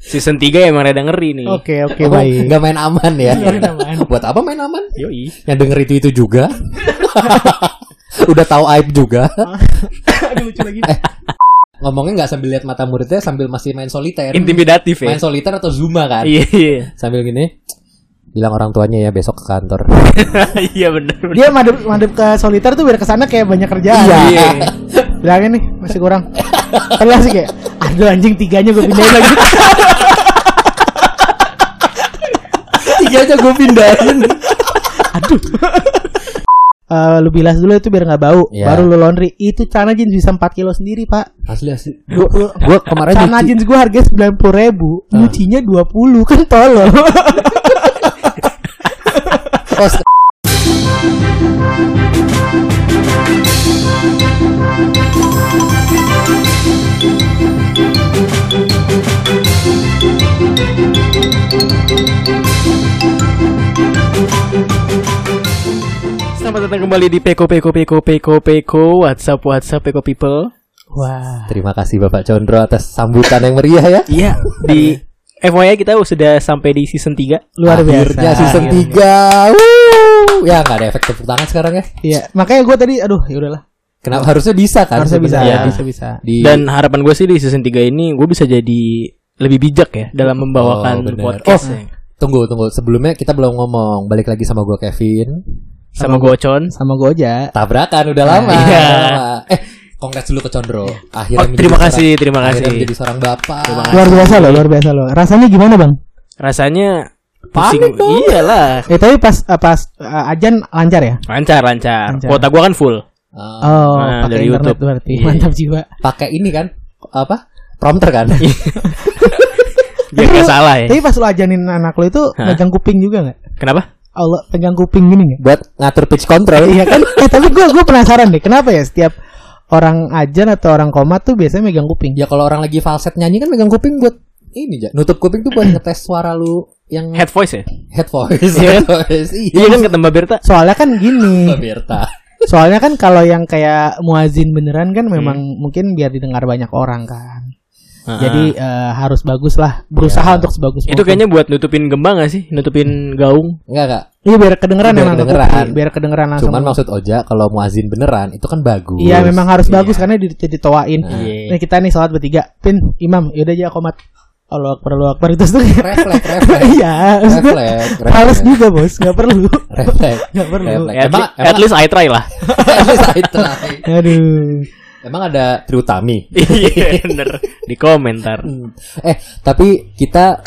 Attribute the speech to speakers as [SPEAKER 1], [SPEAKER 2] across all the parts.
[SPEAKER 1] Season 3 emang rada ngeri nih.
[SPEAKER 2] Oke oke
[SPEAKER 3] Emang
[SPEAKER 2] baik.
[SPEAKER 3] nggak main aman ya.
[SPEAKER 2] Nggak main aman.
[SPEAKER 3] Buat apa main aman?
[SPEAKER 1] Yoi.
[SPEAKER 3] Yang denger itu itu juga. Udah tahu aib juga.
[SPEAKER 2] Aduh lucu lagi.
[SPEAKER 3] Ngomongnya nggak sambil lihat mata muridnya, sambil masih main soliter.
[SPEAKER 1] Intimidatif ya.
[SPEAKER 3] Main soliter atau zuma kan?
[SPEAKER 1] Iya iya.
[SPEAKER 3] Sambil gini bilang orang tuanya ya besok ke kantor.
[SPEAKER 1] Iya benar.
[SPEAKER 2] Dia madep madep ke soliter tuh biar kesana kayak banyak kerjaan.
[SPEAKER 3] Iya.
[SPEAKER 2] Bilangin nih masih kurang. Terus sih kayak aduh anjing tiganya gue pindahin lagi.
[SPEAKER 3] Tiga aja gue pindahin.
[SPEAKER 2] Eh, lu bilas dulu itu biar nggak bau.
[SPEAKER 3] Iya.
[SPEAKER 2] Baru lu laundry. Itu celana jeans bisa 4 kilo sendiri pak.
[SPEAKER 3] Asli asli. Gue gue kemarin
[SPEAKER 2] Celana
[SPEAKER 3] nyuci- Ah.
[SPEAKER 2] jeans gue harganya sembilan puluh ribu. Nyucinya dua puluh kan tolol.
[SPEAKER 3] Oh, s-
[SPEAKER 1] Selamat datang kembali di Peko Peko Peko Peko Peko WhatsApp WhatsApp Peko People.
[SPEAKER 2] Wah.
[SPEAKER 3] Terima kasih Bapak Condro atas sambutan yang meriah ya.
[SPEAKER 1] Iya. Di FYI kita sudah sampai di season 3
[SPEAKER 2] Luar
[SPEAKER 3] Akhirnya
[SPEAKER 2] biasa.
[SPEAKER 3] season 3. Wuh. Ya nggak ada efek tepuk tangan sekarang ya.
[SPEAKER 2] Iya. Makanya gue tadi aduh ya udahlah.
[SPEAKER 3] Kenapa harusnya bisa kan?
[SPEAKER 2] Harusnya bisa.
[SPEAKER 3] sebenarnya.
[SPEAKER 2] Bisa bisa.
[SPEAKER 3] Di
[SPEAKER 1] dan harapan gue sih di season 3 ini gue bisa jadi lebih bijak ya dalam membawakan
[SPEAKER 3] Oh, bener.
[SPEAKER 1] podcast
[SPEAKER 3] Oh, tunggu tunggu sebelumnya kita belum ngomong. Balik lagi sama gue Kevin.
[SPEAKER 1] sama Gocon.
[SPEAKER 2] Sama gue aja.
[SPEAKER 3] Tabrakan udah lama.
[SPEAKER 1] Iya.
[SPEAKER 3] udah lama. Eh, kongres dulu ke Condro.
[SPEAKER 1] Oh,
[SPEAKER 3] Akhirnya
[SPEAKER 1] terima
[SPEAKER 3] menjadi
[SPEAKER 1] kasih, terima
[SPEAKER 3] akhirnya
[SPEAKER 1] kasih.
[SPEAKER 3] menjadi seorang bapak. Ah.
[SPEAKER 2] Luar biasa loh, luar biasa loh. Rasanya gimana bang?
[SPEAKER 1] Rasanya Iya,
[SPEAKER 3] Panik dong.
[SPEAKER 1] Iyalah.
[SPEAKER 2] Eh tapi pas eh, pas eh, ajan lancar ya?
[SPEAKER 1] Lancar, lancar.
[SPEAKER 2] Lancar.
[SPEAKER 1] Kuota gua kan full.
[SPEAKER 3] Ah,
[SPEAKER 2] Oh,
[SPEAKER 1] Nah,
[SPEAKER 2] pakai
[SPEAKER 1] dari
[SPEAKER 2] internet
[SPEAKER 1] YouTube.
[SPEAKER 2] berarti.
[SPEAKER 1] Iya.
[SPEAKER 2] Mantap jiwa.
[SPEAKER 3] Pakai ini kan apa? Prompter kan?
[SPEAKER 1] Biar
[SPEAKER 2] Tapi
[SPEAKER 1] nggak
[SPEAKER 2] lu-
[SPEAKER 1] salah ya.
[SPEAKER 2] Tapi pas lu ajanin anak lu itu
[SPEAKER 1] Hah?
[SPEAKER 2] megang kuping juga nggak?
[SPEAKER 1] Kenapa?
[SPEAKER 2] Allah pegang kuping gini nggak?
[SPEAKER 3] Buat ngatur pitch control.
[SPEAKER 2] Iya kan? Eh tapi gue gue penasaran deh kenapa ya setiap orang ajan atau orang koma tuh biasanya megang kuping.
[SPEAKER 3] Ya kalau orang lagi falset nyanyi kan megang kuping buat ini ja. Nutup kuping tuh buat ngetes suara lu yang
[SPEAKER 1] Head
[SPEAKER 3] head,
[SPEAKER 1] voice ya?
[SPEAKER 3] voice.
[SPEAKER 1] Iya.
[SPEAKER 3] Head voice. Iya.
[SPEAKER 1] Iya kan kata Mbak Berta.
[SPEAKER 2] Soalnya kan gini.
[SPEAKER 3] Mbak Berta.
[SPEAKER 2] Soalnya kan kalau yang kayak muazin beneran
[SPEAKER 3] Hmm.
[SPEAKER 2] kan memang mungkin biar didengar banyak orang kan. Jadi eh, harus bagus lah. Berusaha
[SPEAKER 3] Iya.
[SPEAKER 2] untuk sebagus
[SPEAKER 1] itu kayaknya buat nutupin gembang gak sih? Nutupin gaung.
[SPEAKER 3] Enggak enggak.
[SPEAKER 2] Iya biar kedengeran
[SPEAKER 3] Biar
[SPEAKER 2] emang ke
[SPEAKER 3] kedengeran.
[SPEAKER 2] kuping, biar kedengeran langsung.
[SPEAKER 3] Cuman maksud Oja kalau muazin beneran itu kan bagus.
[SPEAKER 2] Iya memang harus bagus karena di- ditoain.
[SPEAKER 1] Iya.
[SPEAKER 2] Nah kita nih sholat bertiga, pin imam, yaudah aja komat. Allah akbar Allah akbar itu tuh
[SPEAKER 3] refleks refleks.
[SPEAKER 2] Iya, maksudnya
[SPEAKER 3] refleks.
[SPEAKER 2] Males
[SPEAKER 3] Refleks.
[SPEAKER 2] juga bos, nggak perlu.
[SPEAKER 3] Refleks.
[SPEAKER 2] Nggak perlu.
[SPEAKER 3] Refleks.
[SPEAKER 1] At,
[SPEAKER 3] Emang
[SPEAKER 1] le- at least I try lah.
[SPEAKER 3] at least I try.
[SPEAKER 2] Aduh.
[SPEAKER 3] Emang ada Triutami.
[SPEAKER 1] Iya bener. Di komentar.
[SPEAKER 3] Eh, tapi kita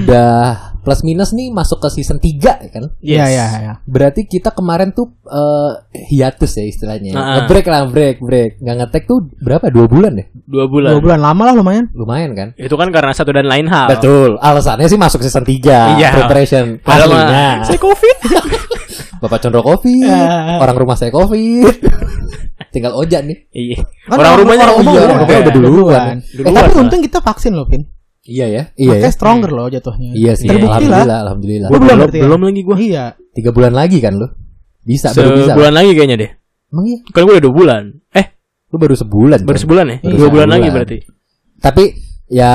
[SPEAKER 3] udah plus minus nih masuk ke season 3 ya kan.
[SPEAKER 2] Iya iya iya.
[SPEAKER 3] Berarti kita kemarin tuh eh, hiatus ya istilahnya.
[SPEAKER 1] Nah, ah.
[SPEAKER 3] Nge-break lah, break, break. Nggak ngetek tuh berapa? Dua bulan deh.
[SPEAKER 1] Dua bulan.
[SPEAKER 2] Dua bulan lama lah lumayan.
[SPEAKER 3] Lumayan kan?
[SPEAKER 1] Itu kan karena satu dan lain hal.
[SPEAKER 3] Betul. Alasannya sih masuk season 3
[SPEAKER 1] Iya.
[SPEAKER 3] preparation.
[SPEAKER 1] Padahal mah,
[SPEAKER 3] Aslinya.
[SPEAKER 1] saya covid.
[SPEAKER 3] Bapak Condro Covid,
[SPEAKER 2] Ah.
[SPEAKER 3] orang rumah saya Covid. Tinggal Oja nih.
[SPEAKER 1] Iya.
[SPEAKER 2] Kan
[SPEAKER 1] orang rumahnya
[SPEAKER 2] orang
[SPEAKER 3] rumah
[SPEAKER 1] iya,
[SPEAKER 3] orang rumahnya
[SPEAKER 1] iya.
[SPEAKER 3] udah duluan.
[SPEAKER 2] Eh,
[SPEAKER 1] Duluan
[SPEAKER 2] tapi
[SPEAKER 1] lah.
[SPEAKER 2] untung kita vaksin loh, Pin.
[SPEAKER 3] Iya ya. Iya ya.
[SPEAKER 2] Makanya stronger loh jatuhnya.
[SPEAKER 3] Iya sih.
[SPEAKER 2] Terbukti
[SPEAKER 3] alhamdulillah,
[SPEAKER 2] lah.
[SPEAKER 3] alhamdulillah.
[SPEAKER 1] Gua belum,
[SPEAKER 2] berarti ya?
[SPEAKER 1] belum lagi gua.
[SPEAKER 2] Iya.
[SPEAKER 3] Tiga bulan lagi kan lu? Bisa, baru bisa.
[SPEAKER 1] Sebulan lagi kayaknya deh.
[SPEAKER 3] Emang iya?
[SPEAKER 1] Kan gua udah dua bulan. Eh,
[SPEAKER 3] Lu baru sebulan.
[SPEAKER 1] baru
[SPEAKER 3] Con.
[SPEAKER 1] sebulan ya?
[SPEAKER 3] Baru
[SPEAKER 1] Dua bulan lagi
[SPEAKER 3] sebulan.
[SPEAKER 1] berarti. Iya,
[SPEAKER 3] Tapi ya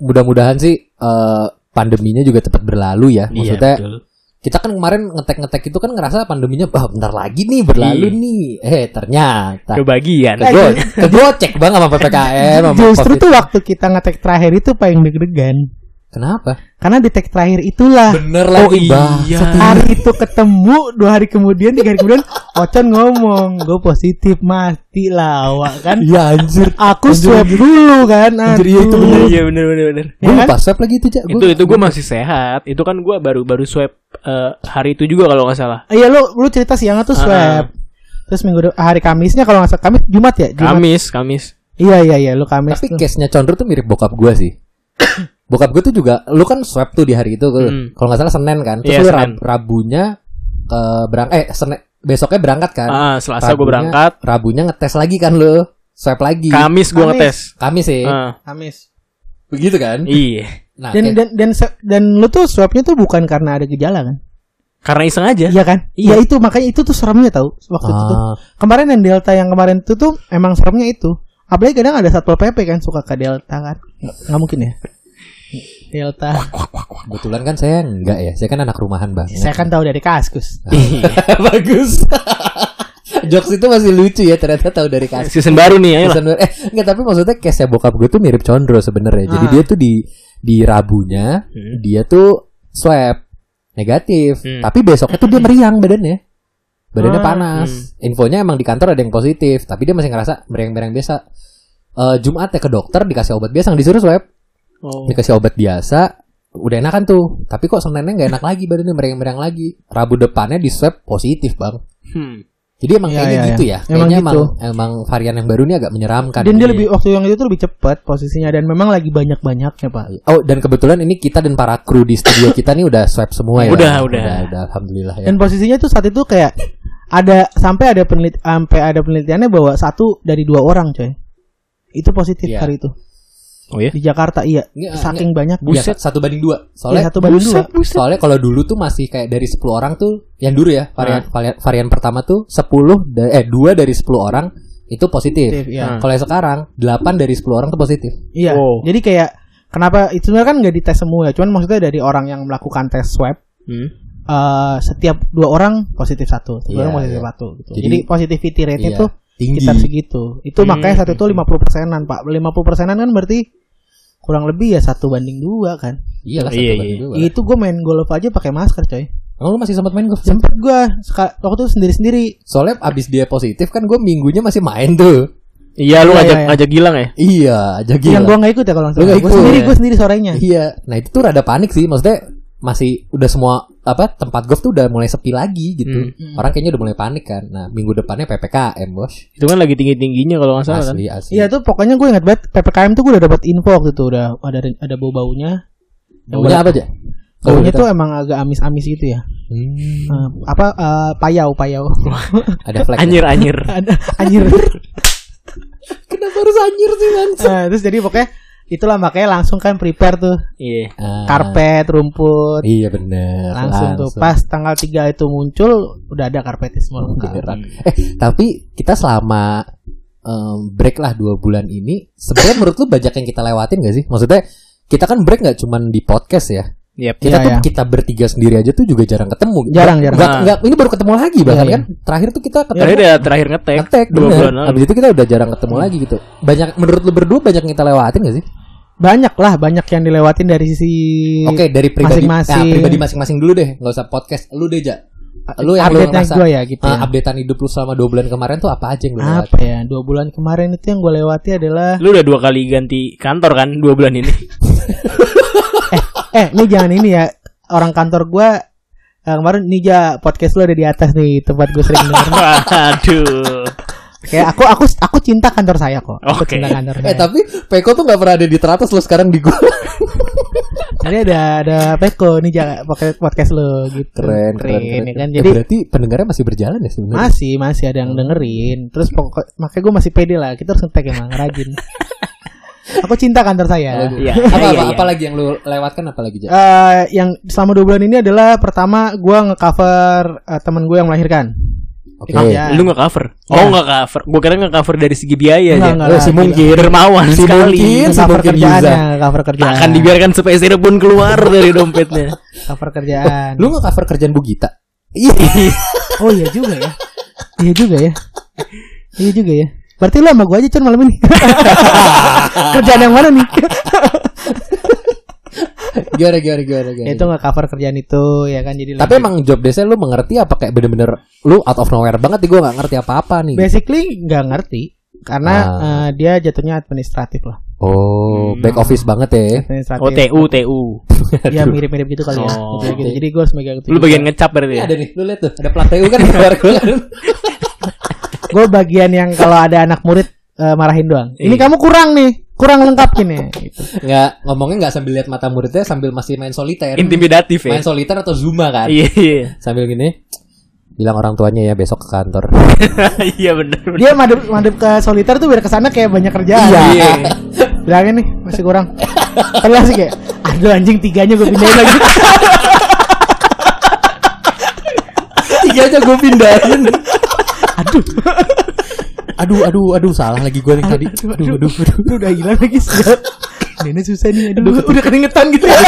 [SPEAKER 3] mudah-mudahan sih eh, pandeminya juga cepat berlalu ya. Maksudnya
[SPEAKER 1] Iya, betul.
[SPEAKER 3] kita kan kemarin ngetek-ngetek itu kan ngerasa pandeminya bah bentar lagi nih berlalu
[SPEAKER 1] Iya.
[SPEAKER 3] nih. Eh ternyata
[SPEAKER 1] kebagian.
[SPEAKER 3] Kego, kegocek banget sama PPKM sama
[SPEAKER 2] Justru
[SPEAKER 3] COVID.
[SPEAKER 2] tuh waktu kita ngetek terakhir itu paling deg-degan.
[SPEAKER 3] Kenapa?
[SPEAKER 2] Karena di tag terakhir itulah
[SPEAKER 3] Bener
[SPEAKER 1] Oh
[SPEAKER 3] lagi bah.
[SPEAKER 1] iya.
[SPEAKER 2] hari itu ketemu dua hari kemudian tiga hari kemudian Ocon ngomong gue positif mati lawak kan
[SPEAKER 3] Iya anjir.
[SPEAKER 2] aku
[SPEAKER 3] Anjir,
[SPEAKER 2] swab dulu kan
[SPEAKER 3] Anjir, iya, itu
[SPEAKER 1] Iya,
[SPEAKER 2] aduh.
[SPEAKER 1] Iya bener bener bener.
[SPEAKER 3] Gue
[SPEAKER 2] Ya kan?
[SPEAKER 3] lupa swab lagi itu, Cak.
[SPEAKER 1] Itu itu gue masih sehat. Itu kan gue baru baru swab eh, hari itu juga kalau nggak salah.
[SPEAKER 2] Iya lu lu cerita siang tuh swab. Terus minggu de- hari Kamisnya kalau nggak salah Kamis Jumat ya? Jumat.
[SPEAKER 1] Kamis Kamis.
[SPEAKER 2] Iya iya iya lu Kamis. tuh.
[SPEAKER 3] Tapi case-nya Condro tuh mirip bokap gue sih. bokap gue tuh juga, lu kan swab tuh di hari itu, lu-
[SPEAKER 1] Hmm.
[SPEAKER 3] kalau nggak salah Senin kan.
[SPEAKER 1] Iya,
[SPEAKER 3] Terus lu
[SPEAKER 1] Senin.
[SPEAKER 3] Rab- Rabunya ke berang, eh Senin besoknya berangkat kan.
[SPEAKER 1] Ah, Selasa gue
[SPEAKER 3] Rabunya-
[SPEAKER 1] berangkat.
[SPEAKER 3] Rabunya ngetes lagi kan lu, swab lagi.
[SPEAKER 1] Kamis gue
[SPEAKER 2] Kamis.
[SPEAKER 1] ngetes.
[SPEAKER 3] Kamis sih,
[SPEAKER 1] Ah,
[SPEAKER 2] Kamis.
[SPEAKER 3] begitu kan?
[SPEAKER 1] iya.
[SPEAKER 3] Nah,
[SPEAKER 2] Dan,
[SPEAKER 3] kayak-
[SPEAKER 2] dan dan se- dan lu tuh swabnya tuh bukan karena ada gejala kan?
[SPEAKER 1] Karena iseng aja.
[SPEAKER 2] Iya kan?
[SPEAKER 1] Iya.
[SPEAKER 2] Iya itu makanya itu tuh seremnya tahu waktu itu tuh.
[SPEAKER 3] Ah,
[SPEAKER 2] Kemarin yang Delta yang kemarin itu tuh emang seremnya itu. Apalagi kadang ada satpol PP kan suka ke Delta kan? Nggak nggak mungkin ya? Delta.
[SPEAKER 3] Oh, Kebetulan kan saya enggak ya. Saya kan anak rumahan banget.
[SPEAKER 2] Saya kan tahu dari Kaskus.
[SPEAKER 3] Nah, Bagus. Jokes itu masih lucu ya ternyata tahu dari kasus.
[SPEAKER 1] Season baru nih,
[SPEAKER 2] Iya
[SPEAKER 1] ayo. lah.
[SPEAKER 3] Kesan ber- eh enggak tapi maksudnya case bokap gue tuh mirip Condro sebenarnya. Jadi
[SPEAKER 2] Ah. Hmm.
[SPEAKER 3] dia tuh di di Rabunya dia tuh swab negatif,
[SPEAKER 1] Hmm.
[SPEAKER 3] tapi besoknya tuh dia meriang badannya. Badannya
[SPEAKER 1] Ah,
[SPEAKER 3] panas.
[SPEAKER 2] hmm.
[SPEAKER 3] Infonya emang di kantor ada yang positif, tapi dia masih ngerasa meriang-meriang biasa. Eh Jumat ya ke dokter dikasih obat biasa, nggak disuruh swab,
[SPEAKER 1] Oh.
[SPEAKER 3] dikasih obat biasa, udah enakan tuh. Tapi kok Seninnya nggak enak lagi badannya meriang-meriang lagi. Rabu depannya di swab positif, Bang.
[SPEAKER 1] Hmm.
[SPEAKER 3] Jadi emang
[SPEAKER 2] Ya,
[SPEAKER 3] kayaknya
[SPEAKER 2] ya,
[SPEAKER 3] gitu
[SPEAKER 2] ya.
[SPEAKER 3] ya.
[SPEAKER 2] Emang
[SPEAKER 3] Kayaknya emang,
[SPEAKER 2] gitu.
[SPEAKER 3] emang varian yang baru ini agak menyeramkan. gitu
[SPEAKER 2] Dan dia lebih waktu yang itu lebih cepat posisinya dan memang lagi banyak-banyaknya, Pak.
[SPEAKER 3] Oh, dan kebetulan ini kita dan para kru di studio kita nih udah swab semua ya.
[SPEAKER 1] Udah, udah.
[SPEAKER 3] udah, alhamdulillah ya.
[SPEAKER 2] Dan posisinya tuh saat itu kayak ada sampai ada penelit sampai ada penelitiannya bahwa satu dari dua orang, coy. Itu positif
[SPEAKER 3] Iya.
[SPEAKER 2] hari itu
[SPEAKER 1] Oh ya.
[SPEAKER 2] di Jakarta, iya.
[SPEAKER 3] Iya,
[SPEAKER 2] Saking banyak.
[SPEAKER 3] Iya, satu banding dua.
[SPEAKER 2] Iya,
[SPEAKER 3] Soalnya
[SPEAKER 2] satu banding dua.
[SPEAKER 1] Buset, buset.
[SPEAKER 3] soalnya kalau dulu tuh masih kayak dari 10 orang tuh yang dulu ya varian varian, varian pertama tuh 10 da- eh dua dari 10 orang itu positif.
[SPEAKER 2] Positif, iya.
[SPEAKER 3] Nah, Kalau yang sekarang 8 dari 10 orang tuh positif.
[SPEAKER 2] Iya.
[SPEAKER 1] Wow.
[SPEAKER 2] Jadi kayak kenapa itu sebenarnya kan nggak dites semua ya. Cuman maksudnya dari orang yang melakukan tes swab
[SPEAKER 1] Hmm.
[SPEAKER 2] eh, setiap dua orang positif satu, satu
[SPEAKER 3] Iya,
[SPEAKER 2] orang positif
[SPEAKER 3] iya.
[SPEAKER 2] satu gitu.
[SPEAKER 3] Jadi-
[SPEAKER 2] Jadi, positivity rate
[SPEAKER 3] Iya,
[SPEAKER 2] itu
[SPEAKER 3] tinggi.
[SPEAKER 2] sekitar segitu. Itu
[SPEAKER 1] Hmm.
[SPEAKER 2] makanya satu itu 50 persenan pak. 50 persenan kan berarti kurang lebih ya satu banding dua kan.
[SPEAKER 3] Iyalah satu
[SPEAKER 1] Iya, iya.
[SPEAKER 3] banding dua.
[SPEAKER 2] Itu gue main golf aja pakai masker coy.
[SPEAKER 3] Emang lu masih sempat main golf?
[SPEAKER 2] Sempet gue waktu itu sendiri sendiri.
[SPEAKER 3] Soalnya abis dia positif kan gue minggunya masih main tuh.
[SPEAKER 1] Iya, lu
[SPEAKER 2] Iya,
[SPEAKER 1] ngajak
[SPEAKER 2] iya, iya.
[SPEAKER 1] ngajak Gilang ya?
[SPEAKER 3] Iya, jadi
[SPEAKER 2] Yang gue nggak ikut ya kalau nggak
[SPEAKER 3] Lu
[SPEAKER 2] salah.
[SPEAKER 3] nggak
[SPEAKER 2] Gue
[SPEAKER 3] ikut,
[SPEAKER 2] sendiri
[SPEAKER 1] ya.
[SPEAKER 2] gue sendiri sorenya.
[SPEAKER 3] Iya, nah itu tuh rada panik sih, maksudnya masih udah semua apa tempat golf tuh udah mulai sepi lagi gitu.
[SPEAKER 2] Hmm.
[SPEAKER 3] Orang kayaknya udah mulai panik kan. Nah, minggu depannya PPKM, Bos.
[SPEAKER 1] Itu kan lagi tinggi-tingginya kalau nggak salah kan.
[SPEAKER 3] Asli, asli.
[SPEAKER 2] Iya tuh pokoknya gue ingat banget ppkm tuh gue udah dapat info waktu itu udah ada ada bau baunya.
[SPEAKER 3] Baunya apa aja?
[SPEAKER 2] Baunya tuh emang agak amis-amis gitu ya. Eh, apa eh, payau payau.
[SPEAKER 3] Hmm, ada flag. ya?
[SPEAKER 1] Anjir anjir.
[SPEAKER 2] ada anjir.
[SPEAKER 3] Kenapa harus anjir sih, Bang?
[SPEAKER 2] Eh, terus jadi pokoknya itulah makanya langsung kan prepare tuh
[SPEAKER 1] Iya.
[SPEAKER 3] Ah,
[SPEAKER 2] karpet, rumput.
[SPEAKER 3] Iya bener
[SPEAKER 2] Langsung tuh pas tanggal 3 itu muncul udah ada karpetnya semua lengkap.
[SPEAKER 3] Beneran. Eh, tapi kita selama em, break lah dua bulan ini, sebenarnya menurut lu banyak yang kita lewatin gak sih? Maksudnya kita kan break nggak cuman di podcast ya,
[SPEAKER 1] Yap.
[SPEAKER 3] kita
[SPEAKER 2] Iya,
[SPEAKER 3] tuh
[SPEAKER 2] iya.
[SPEAKER 3] kita bertiga sendiri aja tuh juga jarang ketemu
[SPEAKER 2] Jarang, jarang.
[SPEAKER 3] Nggak- nggak- ini baru ketemu lagi bahkan
[SPEAKER 2] Iya,
[SPEAKER 3] kan terakhir tuh kita ketemu
[SPEAKER 1] Terakhir ya terakhir ngetek.
[SPEAKER 3] ngetek
[SPEAKER 1] dua
[SPEAKER 3] bener.
[SPEAKER 1] bulan lalu.
[SPEAKER 3] abis itu kita udah jarang ketemu
[SPEAKER 2] Iya.
[SPEAKER 3] lagi gitu banyak menurut lu berdua banyak yang kita lewatin gak sih
[SPEAKER 2] Banyak lah, banyak yang dilewatin dari sisi
[SPEAKER 3] oke dari
[SPEAKER 2] Iya.
[SPEAKER 3] pribadi
[SPEAKER 2] masing-masing.
[SPEAKER 3] nah, pribadi masing-masing dulu deh nggak usah podcast lu deh ja lu yang lu
[SPEAKER 2] update-nya
[SPEAKER 3] ngerasa
[SPEAKER 2] gue ya gitu.
[SPEAKER 3] eh,
[SPEAKER 2] ya.
[SPEAKER 3] updatean hidup lu selama dua bulan kemarin tuh apa aja yang lu lewatin
[SPEAKER 2] Apa ya? Dua bulan kemarin itu yang gue lewati adalah
[SPEAKER 1] Lu udah dua kali ganti kantor kan dua bulan ini.
[SPEAKER 2] eh lu jangan ini ya orang kantor gue eh, kemarin nih ja podcast lu ada di atas nih tempat gue sering denger.
[SPEAKER 1] Waduh.
[SPEAKER 2] Kayak aku aku aku cinta kantor saya kok. Aku
[SPEAKER 1] Oke.
[SPEAKER 2] cinta kantor saya.
[SPEAKER 3] eh tapi Peko tuh nggak pernah ada di teratas lu sekarang di gua
[SPEAKER 2] Tadi ada ada Peko nih jangan podcast podcast lo gitu.
[SPEAKER 3] keren keren,
[SPEAKER 2] Keren, ya
[SPEAKER 3] keren.
[SPEAKER 2] kan.
[SPEAKER 3] Eh,
[SPEAKER 2] Jadi
[SPEAKER 3] berarti pendengarnya masih berjalan ya sebenarnya
[SPEAKER 2] masih masih ada yang dengerin. Terus pokok makanya gue masih pede lah. Kita harus ngetek emang rajin. Aku cinta kantor saya.
[SPEAKER 1] Iya.
[SPEAKER 3] apa,
[SPEAKER 1] iya,
[SPEAKER 3] apa,
[SPEAKER 1] iya.
[SPEAKER 3] apa lagi yang lu lewatkan apa lagi ja
[SPEAKER 2] Eh, yang selama dua bulan ini adalah pertama gue ngecover eh, teman gue yang melahirkan.
[SPEAKER 3] Oke.
[SPEAKER 2] Ya.
[SPEAKER 1] Lu nggak cover? Oh nggak cover. Gua kira nggak cover dari segi biaya
[SPEAKER 2] Nggak,
[SPEAKER 1] ya.
[SPEAKER 2] nggak
[SPEAKER 3] Oh,
[SPEAKER 2] lah,
[SPEAKER 3] si
[SPEAKER 2] gila.
[SPEAKER 3] mungkin
[SPEAKER 1] Dermawan
[SPEAKER 3] Si
[SPEAKER 1] sekali.
[SPEAKER 3] mungkin.
[SPEAKER 2] Itu
[SPEAKER 3] sih
[SPEAKER 2] cover
[SPEAKER 3] mungkin
[SPEAKER 2] kerjaannya, cover kerjaan.
[SPEAKER 1] Akan dibiarkan sepeser pun keluar dari dompetnya.
[SPEAKER 2] cover kerjaan.
[SPEAKER 3] Lu nggak cover kerjaan Bu Gita? Iya.
[SPEAKER 2] Oh iya juga ya. Iya juga ya. Iya juga ya. Berarti lu sama gua aja Cun malam ini. kerjaan yang mana nih?
[SPEAKER 3] gimana gimana gimana gimana.
[SPEAKER 2] Ya, itu nggak cover kerjaan itu ya kan jadi
[SPEAKER 3] Tapi
[SPEAKER 2] lebih-
[SPEAKER 3] emang job desk lu mengerti apa kayak bener-bener lu out of nowhere banget nih gue nggak ngerti apa-apa nih.
[SPEAKER 2] basically nggak ngerti karena
[SPEAKER 3] Ah.
[SPEAKER 2] eh, dia jatuhnya administratif lah.
[SPEAKER 3] Oh, back office banget ya.
[SPEAKER 1] Oh
[SPEAKER 2] Administratif.
[SPEAKER 1] TU TU.
[SPEAKER 2] ya mirip-mirip gitu kali ya.
[SPEAKER 1] Oh.
[SPEAKER 2] Gitu, gitu. Jadi gua harus megang gitu.
[SPEAKER 1] Lu bagian ngecap berarti
[SPEAKER 3] Ini
[SPEAKER 1] ya.
[SPEAKER 3] ada nih, lu lihat tuh, ada plat TU kan di luar gua kan.
[SPEAKER 2] Gua bagian yang kalau ada anak murid eh, marahin doang. Ini
[SPEAKER 1] Iya.
[SPEAKER 2] kamu kurang nih, kurang lengkap gini. Gitu.
[SPEAKER 3] Nggak ngomongnya nggak sambil lihat mata muridnya sambil masih main soliter.
[SPEAKER 1] Intimidatif ya.
[SPEAKER 3] Main soliter atau zuma kan?
[SPEAKER 1] Iya iya.
[SPEAKER 3] Sambil gini bilang orang tuanya ya besok ke kantor.
[SPEAKER 1] Iya benar.
[SPEAKER 2] Dia madep madep ke soliter tuh biar kesana kayak banyak kerjaan.
[SPEAKER 1] Iya.
[SPEAKER 2] Bilangin nih masih kurang. Padahal sih kayak aduh anjing tiganya gue pindahin lagi.
[SPEAKER 3] Tiga aja gue pindahin.
[SPEAKER 2] Aduh,
[SPEAKER 3] Aduh, aduh, aduh, salah lagi gue yang tadi. Aduh, aduh, aduh.
[SPEAKER 2] aduh udah hilang lagi. Dana susah nih aduh,
[SPEAKER 1] Aduh, udah keringetan gitu ya.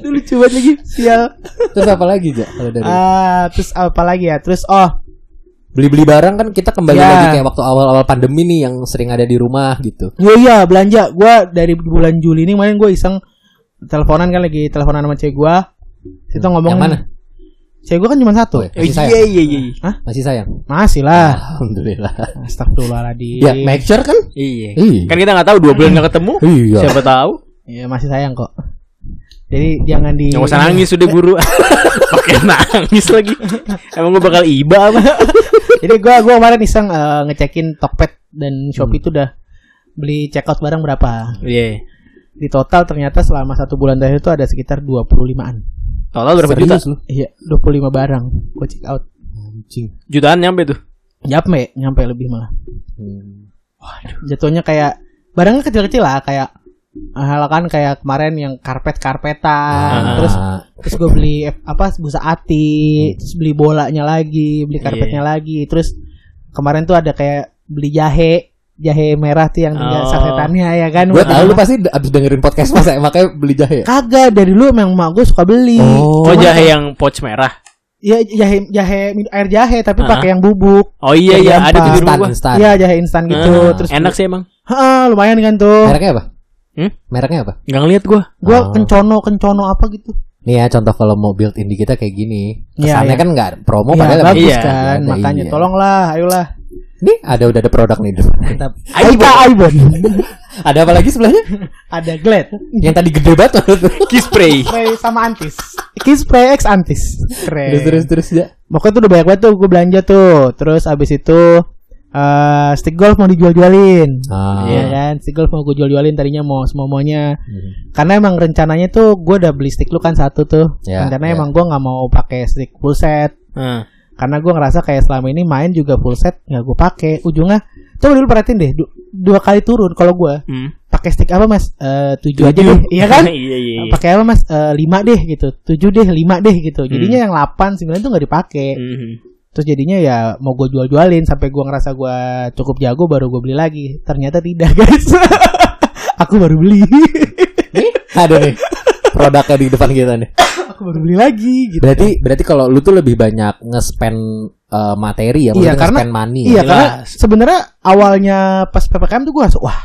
[SPEAKER 2] aduh lucu banget lagi sial
[SPEAKER 3] Terus apa lagi ja kalau dari
[SPEAKER 2] Ah, terus apa lagi ya terus oh
[SPEAKER 3] beli-beli barang kan kita kembali
[SPEAKER 2] Ya.
[SPEAKER 3] lagi kayak waktu awal-awal pandemi nih yang sering ada di rumah gitu.
[SPEAKER 2] iya iya belanja gua dari bulan Juli ini kemarin gue iseng teleponan kan lagi teleponan sama cewek gue itu
[SPEAKER 3] Hmm,
[SPEAKER 2] ngomong
[SPEAKER 3] yang mana?
[SPEAKER 2] cewek gue kan cuma satu
[SPEAKER 3] Oh,
[SPEAKER 2] ya
[SPEAKER 3] ya, masih sayang.
[SPEAKER 1] Iya iya iya.
[SPEAKER 3] Masih sayang.
[SPEAKER 2] masih lah
[SPEAKER 3] Alhamdulillah.
[SPEAKER 2] Astagfirullahaladzim
[SPEAKER 3] Ya, make sure kan?
[SPEAKER 1] Iya.
[SPEAKER 3] Iya.
[SPEAKER 1] Kan kita nggak tahu dua bulan nggak ketemu.
[SPEAKER 3] Iya.
[SPEAKER 1] Siapa tahu?
[SPEAKER 2] Iya, masih sayang kok jadi jangan di
[SPEAKER 1] Nggak usah nangis udah buru. Pakai nangis lagi. Emang gue bakal iba apa?
[SPEAKER 2] Jadi gua gua kemarin iseng eh, ngecekin Tokped dan
[SPEAKER 3] Hmm.
[SPEAKER 2] Shopee itu udah beli checkout barang berapa.
[SPEAKER 1] Iya.
[SPEAKER 2] Di total ternyata selama satu bulan terakhir itu ada sekitar 25-an.
[SPEAKER 1] Total berapa juta?
[SPEAKER 3] Serius lu?
[SPEAKER 2] Iya, 25 barang gua check out.
[SPEAKER 3] Anjing.
[SPEAKER 1] Jutaan nyampe tuh.
[SPEAKER 2] Nyampe, nyampe lebih malah.
[SPEAKER 3] Hmm.
[SPEAKER 2] Jatuhnya kayak barangnya kecil-kecil lah kayak hal kan kayak kemarin yang karpet-karpetan,
[SPEAKER 3] Ah.
[SPEAKER 2] terus terus gue beli eh, apa busa ati terus beli bolanya lagi
[SPEAKER 3] Iya.
[SPEAKER 2] beli karpetnya lagi terus kemarin tuh ada kayak beli jahe jahe merah tuh yang tinggal
[SPEAKER 1] Oh.
[SPEAKER 2] sasetannya ya kan
[SPEAKER 3] Gue
[SPEAKER 2] Wah,
[SPEAKER 3] tahu lu pasti abis dengerin podcast masa makanya beli jahe. ya?
[SPEAKER 2] kagak dari dulu memang mak gue suka beli
[SPEAKER 3] Oh.
[SPEAKER 1] Oh
[SPEAKER 2] Cuman-
[SPEAKER 1] jahe yang pouch merah.
[SPEAKER 2] ya jahe jahe air jahe tapi
[SPEAKER 1] Ah.
[SPEAKER 2] pakai yang bubuk
[SPEAKER 1] Oh iya
[SPEAKER 2] Yang
[SPEAKER 1] iya ada
[SPEAKER 2] gampang.
[SPEAKER 1] tuh di rumah
[SPEAKER 3] Instan,
[SPEAKER 1] gua.
[SPEAKER 3] instan.
[SPEAKER 2] iya jahe instan gitu
[SPEAKER 1] Ah,
[SPEAKER 2] terus
[SPEAKER 1] enak sih emang.
[SPEAKER 2] ha, lumayan kan tuh
[SPEAKER 3] Mereknya apa?
[SPEAKER 1] Hmm?
[SPEAKER 3] Mereknya apa?
[SPEAKER 1] Nggak ngeliat gue.
[SPEAKER 2] gue
[SPEAKER 3] Oh.
[SPEAKER 2] kencono kencono apa gitu
[SPEAKER 3] Nih ya contoh kalau mau build in di kita kayak gini.
[SPEAKER 2] Iya,
[SPEAKER 3] Kesannya
[SPEAKER 2] iya.
[SPEAKER 3] kan nggak promo
[SPEAKER 2] Iya,
[SPEAKER 3] padahal
[SPEAKER 2] bagus
[SPEAKER 1] Iya,
[SPEAKER 2] kan
[SPEAKER 3] ada,
[SPEAKER 2] makanya
[SPEAKER 3] iya.
[SPEAKER 2] tolonglah ayolah
[SPEAKER 3] Nih ada udah ada produk nih.
[SPEAKER 2] Tetap.
[SPEAKER 1] Aibon.
[SPEAKER 2] Aika Aibon
[SPEAKER 3] ada apa lagi sebelahnya?
[SPEAKER 2] ada Glad
[SPEAKER 3] Yang tadi gede banget menurut lu.
[SPEAKER 1] Kispray.
[SPEAKER 2] Spray sama antis. Kiss spray X antis. Keren.
[SPEAKER 3] Terus terus terus
[SPEAKER 2] Iya.
[SPEAKER 3] ya.
[SPEAKER 2] Pokoknya tuh udah banyak banget tuh gue belanja tuh. Terus abis itu eh stick golf mau dijual-jualin.
[SPEAKER 3] Ah. Hmm.
[SPEAKER 2] Iya kan, stick golf mau gue jual-jualin tadinya mau semuanya. Karena emang rencananya tuh gue udah beli stick lu kan satu tuh.
[SPEAKER 3] Ya,
[SPEAKER 2] rencananya
[SPEAKER 3] ya.
[SPEAKER 2] emang gue nggak mau pakai stick full set.
[SPEAKER 1] Ah.
[SPEAKER 2] Karena gue ngerasa kayak selama ini main juga full set nggak gue pakai. Ujungnya coba dulu perhatiin deh du- dua kali turun kalau gue
[SPEAKER 1] Hmm.
[SPEAKER 2] pakai stick apa mas? Eh tujuh aja deh, iya kan?
[SPEAKER 1] iya iya. iya.
[SPEAKER 2] pakai apa mas Eh, lima deh gitu tujuh deh lima deh gitu
[SPEAKER 3] Hmm.
[SPEAKER 2] jadinya yang delapan sembilan tuh nggak dipakai
[SPEAKER 1] Mhm.
[SPEAKER 2] terus jadinya ya mau gue jual jualin sampai gue ngerasa gue cukup jago baru gue beli lagi ternyata tidak guys aku baru beli
[SPEAKER 3] Ada nih produknya di depan kita nih.
[SPEAKER 2] aku baru beli lagi gitu
[SPEAKER 3] Berarti berarti kalau lu tuh lebih banyak nge-spend eh, materi
[SPEAKER 2] Iya,
[SPEAKER 3] ya, maksudnya
[SPEAKER 2] karena-
[SPEAKER 3] nge-spend money.
[SPEAKER 2] iya
[SPEAKER 3] ya.
[SPEAKER 2] karena
[SPEAKER 1] jelas.
[SPEAKER 2] sebenarnya awalnya pas ppkm tuh gue langsung wah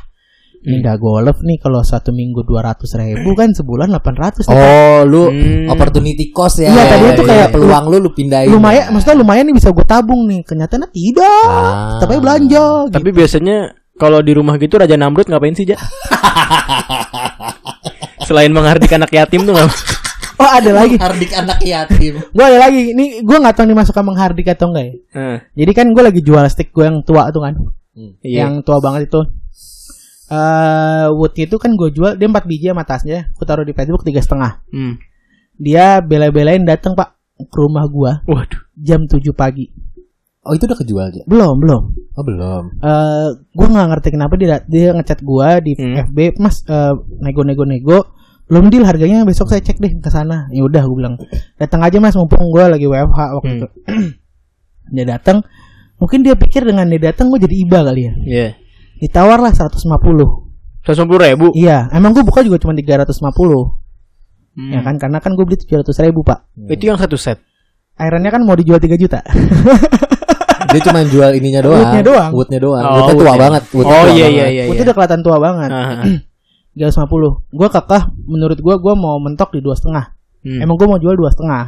[SPEAKER 2] ini udah golf nih kalau satu minggu dua ratus ribu kan sebulan delapan ratus
[SPEAKER 3] Oh, lu
[SPEAKER 1] Hmm.
[SPEAKER 3] opportunity cost ya.
[SPEAKER 2] Iya, tadinya tuh kayak
[SPEAKER 3] peluang lu lu pindahin.
[SPEAKER 2] lumayan maksudnya lumayan nih bisa gue tabung nih kenyataannya tidak
[SPEAKER 3] Ah.
[SPEAKER 2] tapi belanja gitu.
[SPEAKER 1] Tapi biasanya kalau di rumah gitu Raja Namrud ngapain sih, Ja? Selain menghardik anak yatim tuh nggak-
[SPEAKER 2] oh ada lagi
[SPEAKER 3] Hardik anak yatim.
[SPEAKER 2] Gue ada lagi, ini gue gak tau nih masuk sama Hardik atau enggak ya
[SPEAKER 1] Heeh.
[SPEAKER 2] Jadi kan gue lagi jual stick gue yang tua tuh kan
[SPEAKER 1] Iya.
[SPEAKER 2] Yang tua banget itu eh Wood itu kan gue jual, dia 4 biji sama tasnya Gue taruh di Facebook tiga setengah
[SPEAKER 1] Hmm.
[SPEAKER 2] Dia bela-belain datang pak ke rumah gue
[SPEAKER 1] Waduh.
[SPEAKER 2] jam 7 pagi
[SPEAKER 3] Oh, itu udah kejual aja.
[SPEAKER 2] Belum, belum
[SPEAKER 3] Oh, belum.
[SPEAKER 2] eh Gue gak ngerti kenapa dia, dia ngechat gue di
[SPEAKER 1] Hmm.
[SPEAKER 2] FB Mas, eh, nego-nego-nego belum deal harganya besok saya cek deh ke sana ya udah gue bilang datang aja mas mumpung gue lagi WFH waktu
[SPEAKER 1] Hmm.
[SPEAKER 2] itu dia datang mungkin dia pikir dengan dia datang gue jadi iba kali ya
[SPEAKER 1] Iya.
[SPEAKER 2] ditawarlah 150
[SPEAKER 1] Seratus ribu.
[SPEAKER 2] iya emang gue buka juga cuma 350
[SPEAKER 1] Hmm.
[SPEAKER 2] ya kan karena kan gue beli 700 ribu pak
[SPEAKER 1] Itu yang satu set.
[SPEAKER 2] akhirnya kan mau dijual 3 juta
[SPEAKER 3] Dia cuma jual ininya doang.
[SPEAKER 2] Woodnya doang.
[SPEAKER 3] Woodnya doang.
[SPEAKER 1] Oh,
[SPEAKER 3] Woodnya tua
[SPEAKER 1] woodnya.
[SPEAKER 3] banget. Woodnya
[SPEAKER 1] Oh
[SPEAKER 3] tua
[SPEAKER 1] iya
[SPEAKER 3] banget.
[SPEAKER 1] iya iya.
[SPEAKER 2] Gua
[SPEAKER 1] iya.
[SPEAKER 2] tuh udah kelihatan tua banget
[SPEAKER 1] Ah, ah.
[SPEAKER 2] 350 gue kakak menurut gue gue mau mentok di dua setengah
[SPEAKER 1] Hmm.
[SPEAKER 2] Emang gue mau jual dua setengah.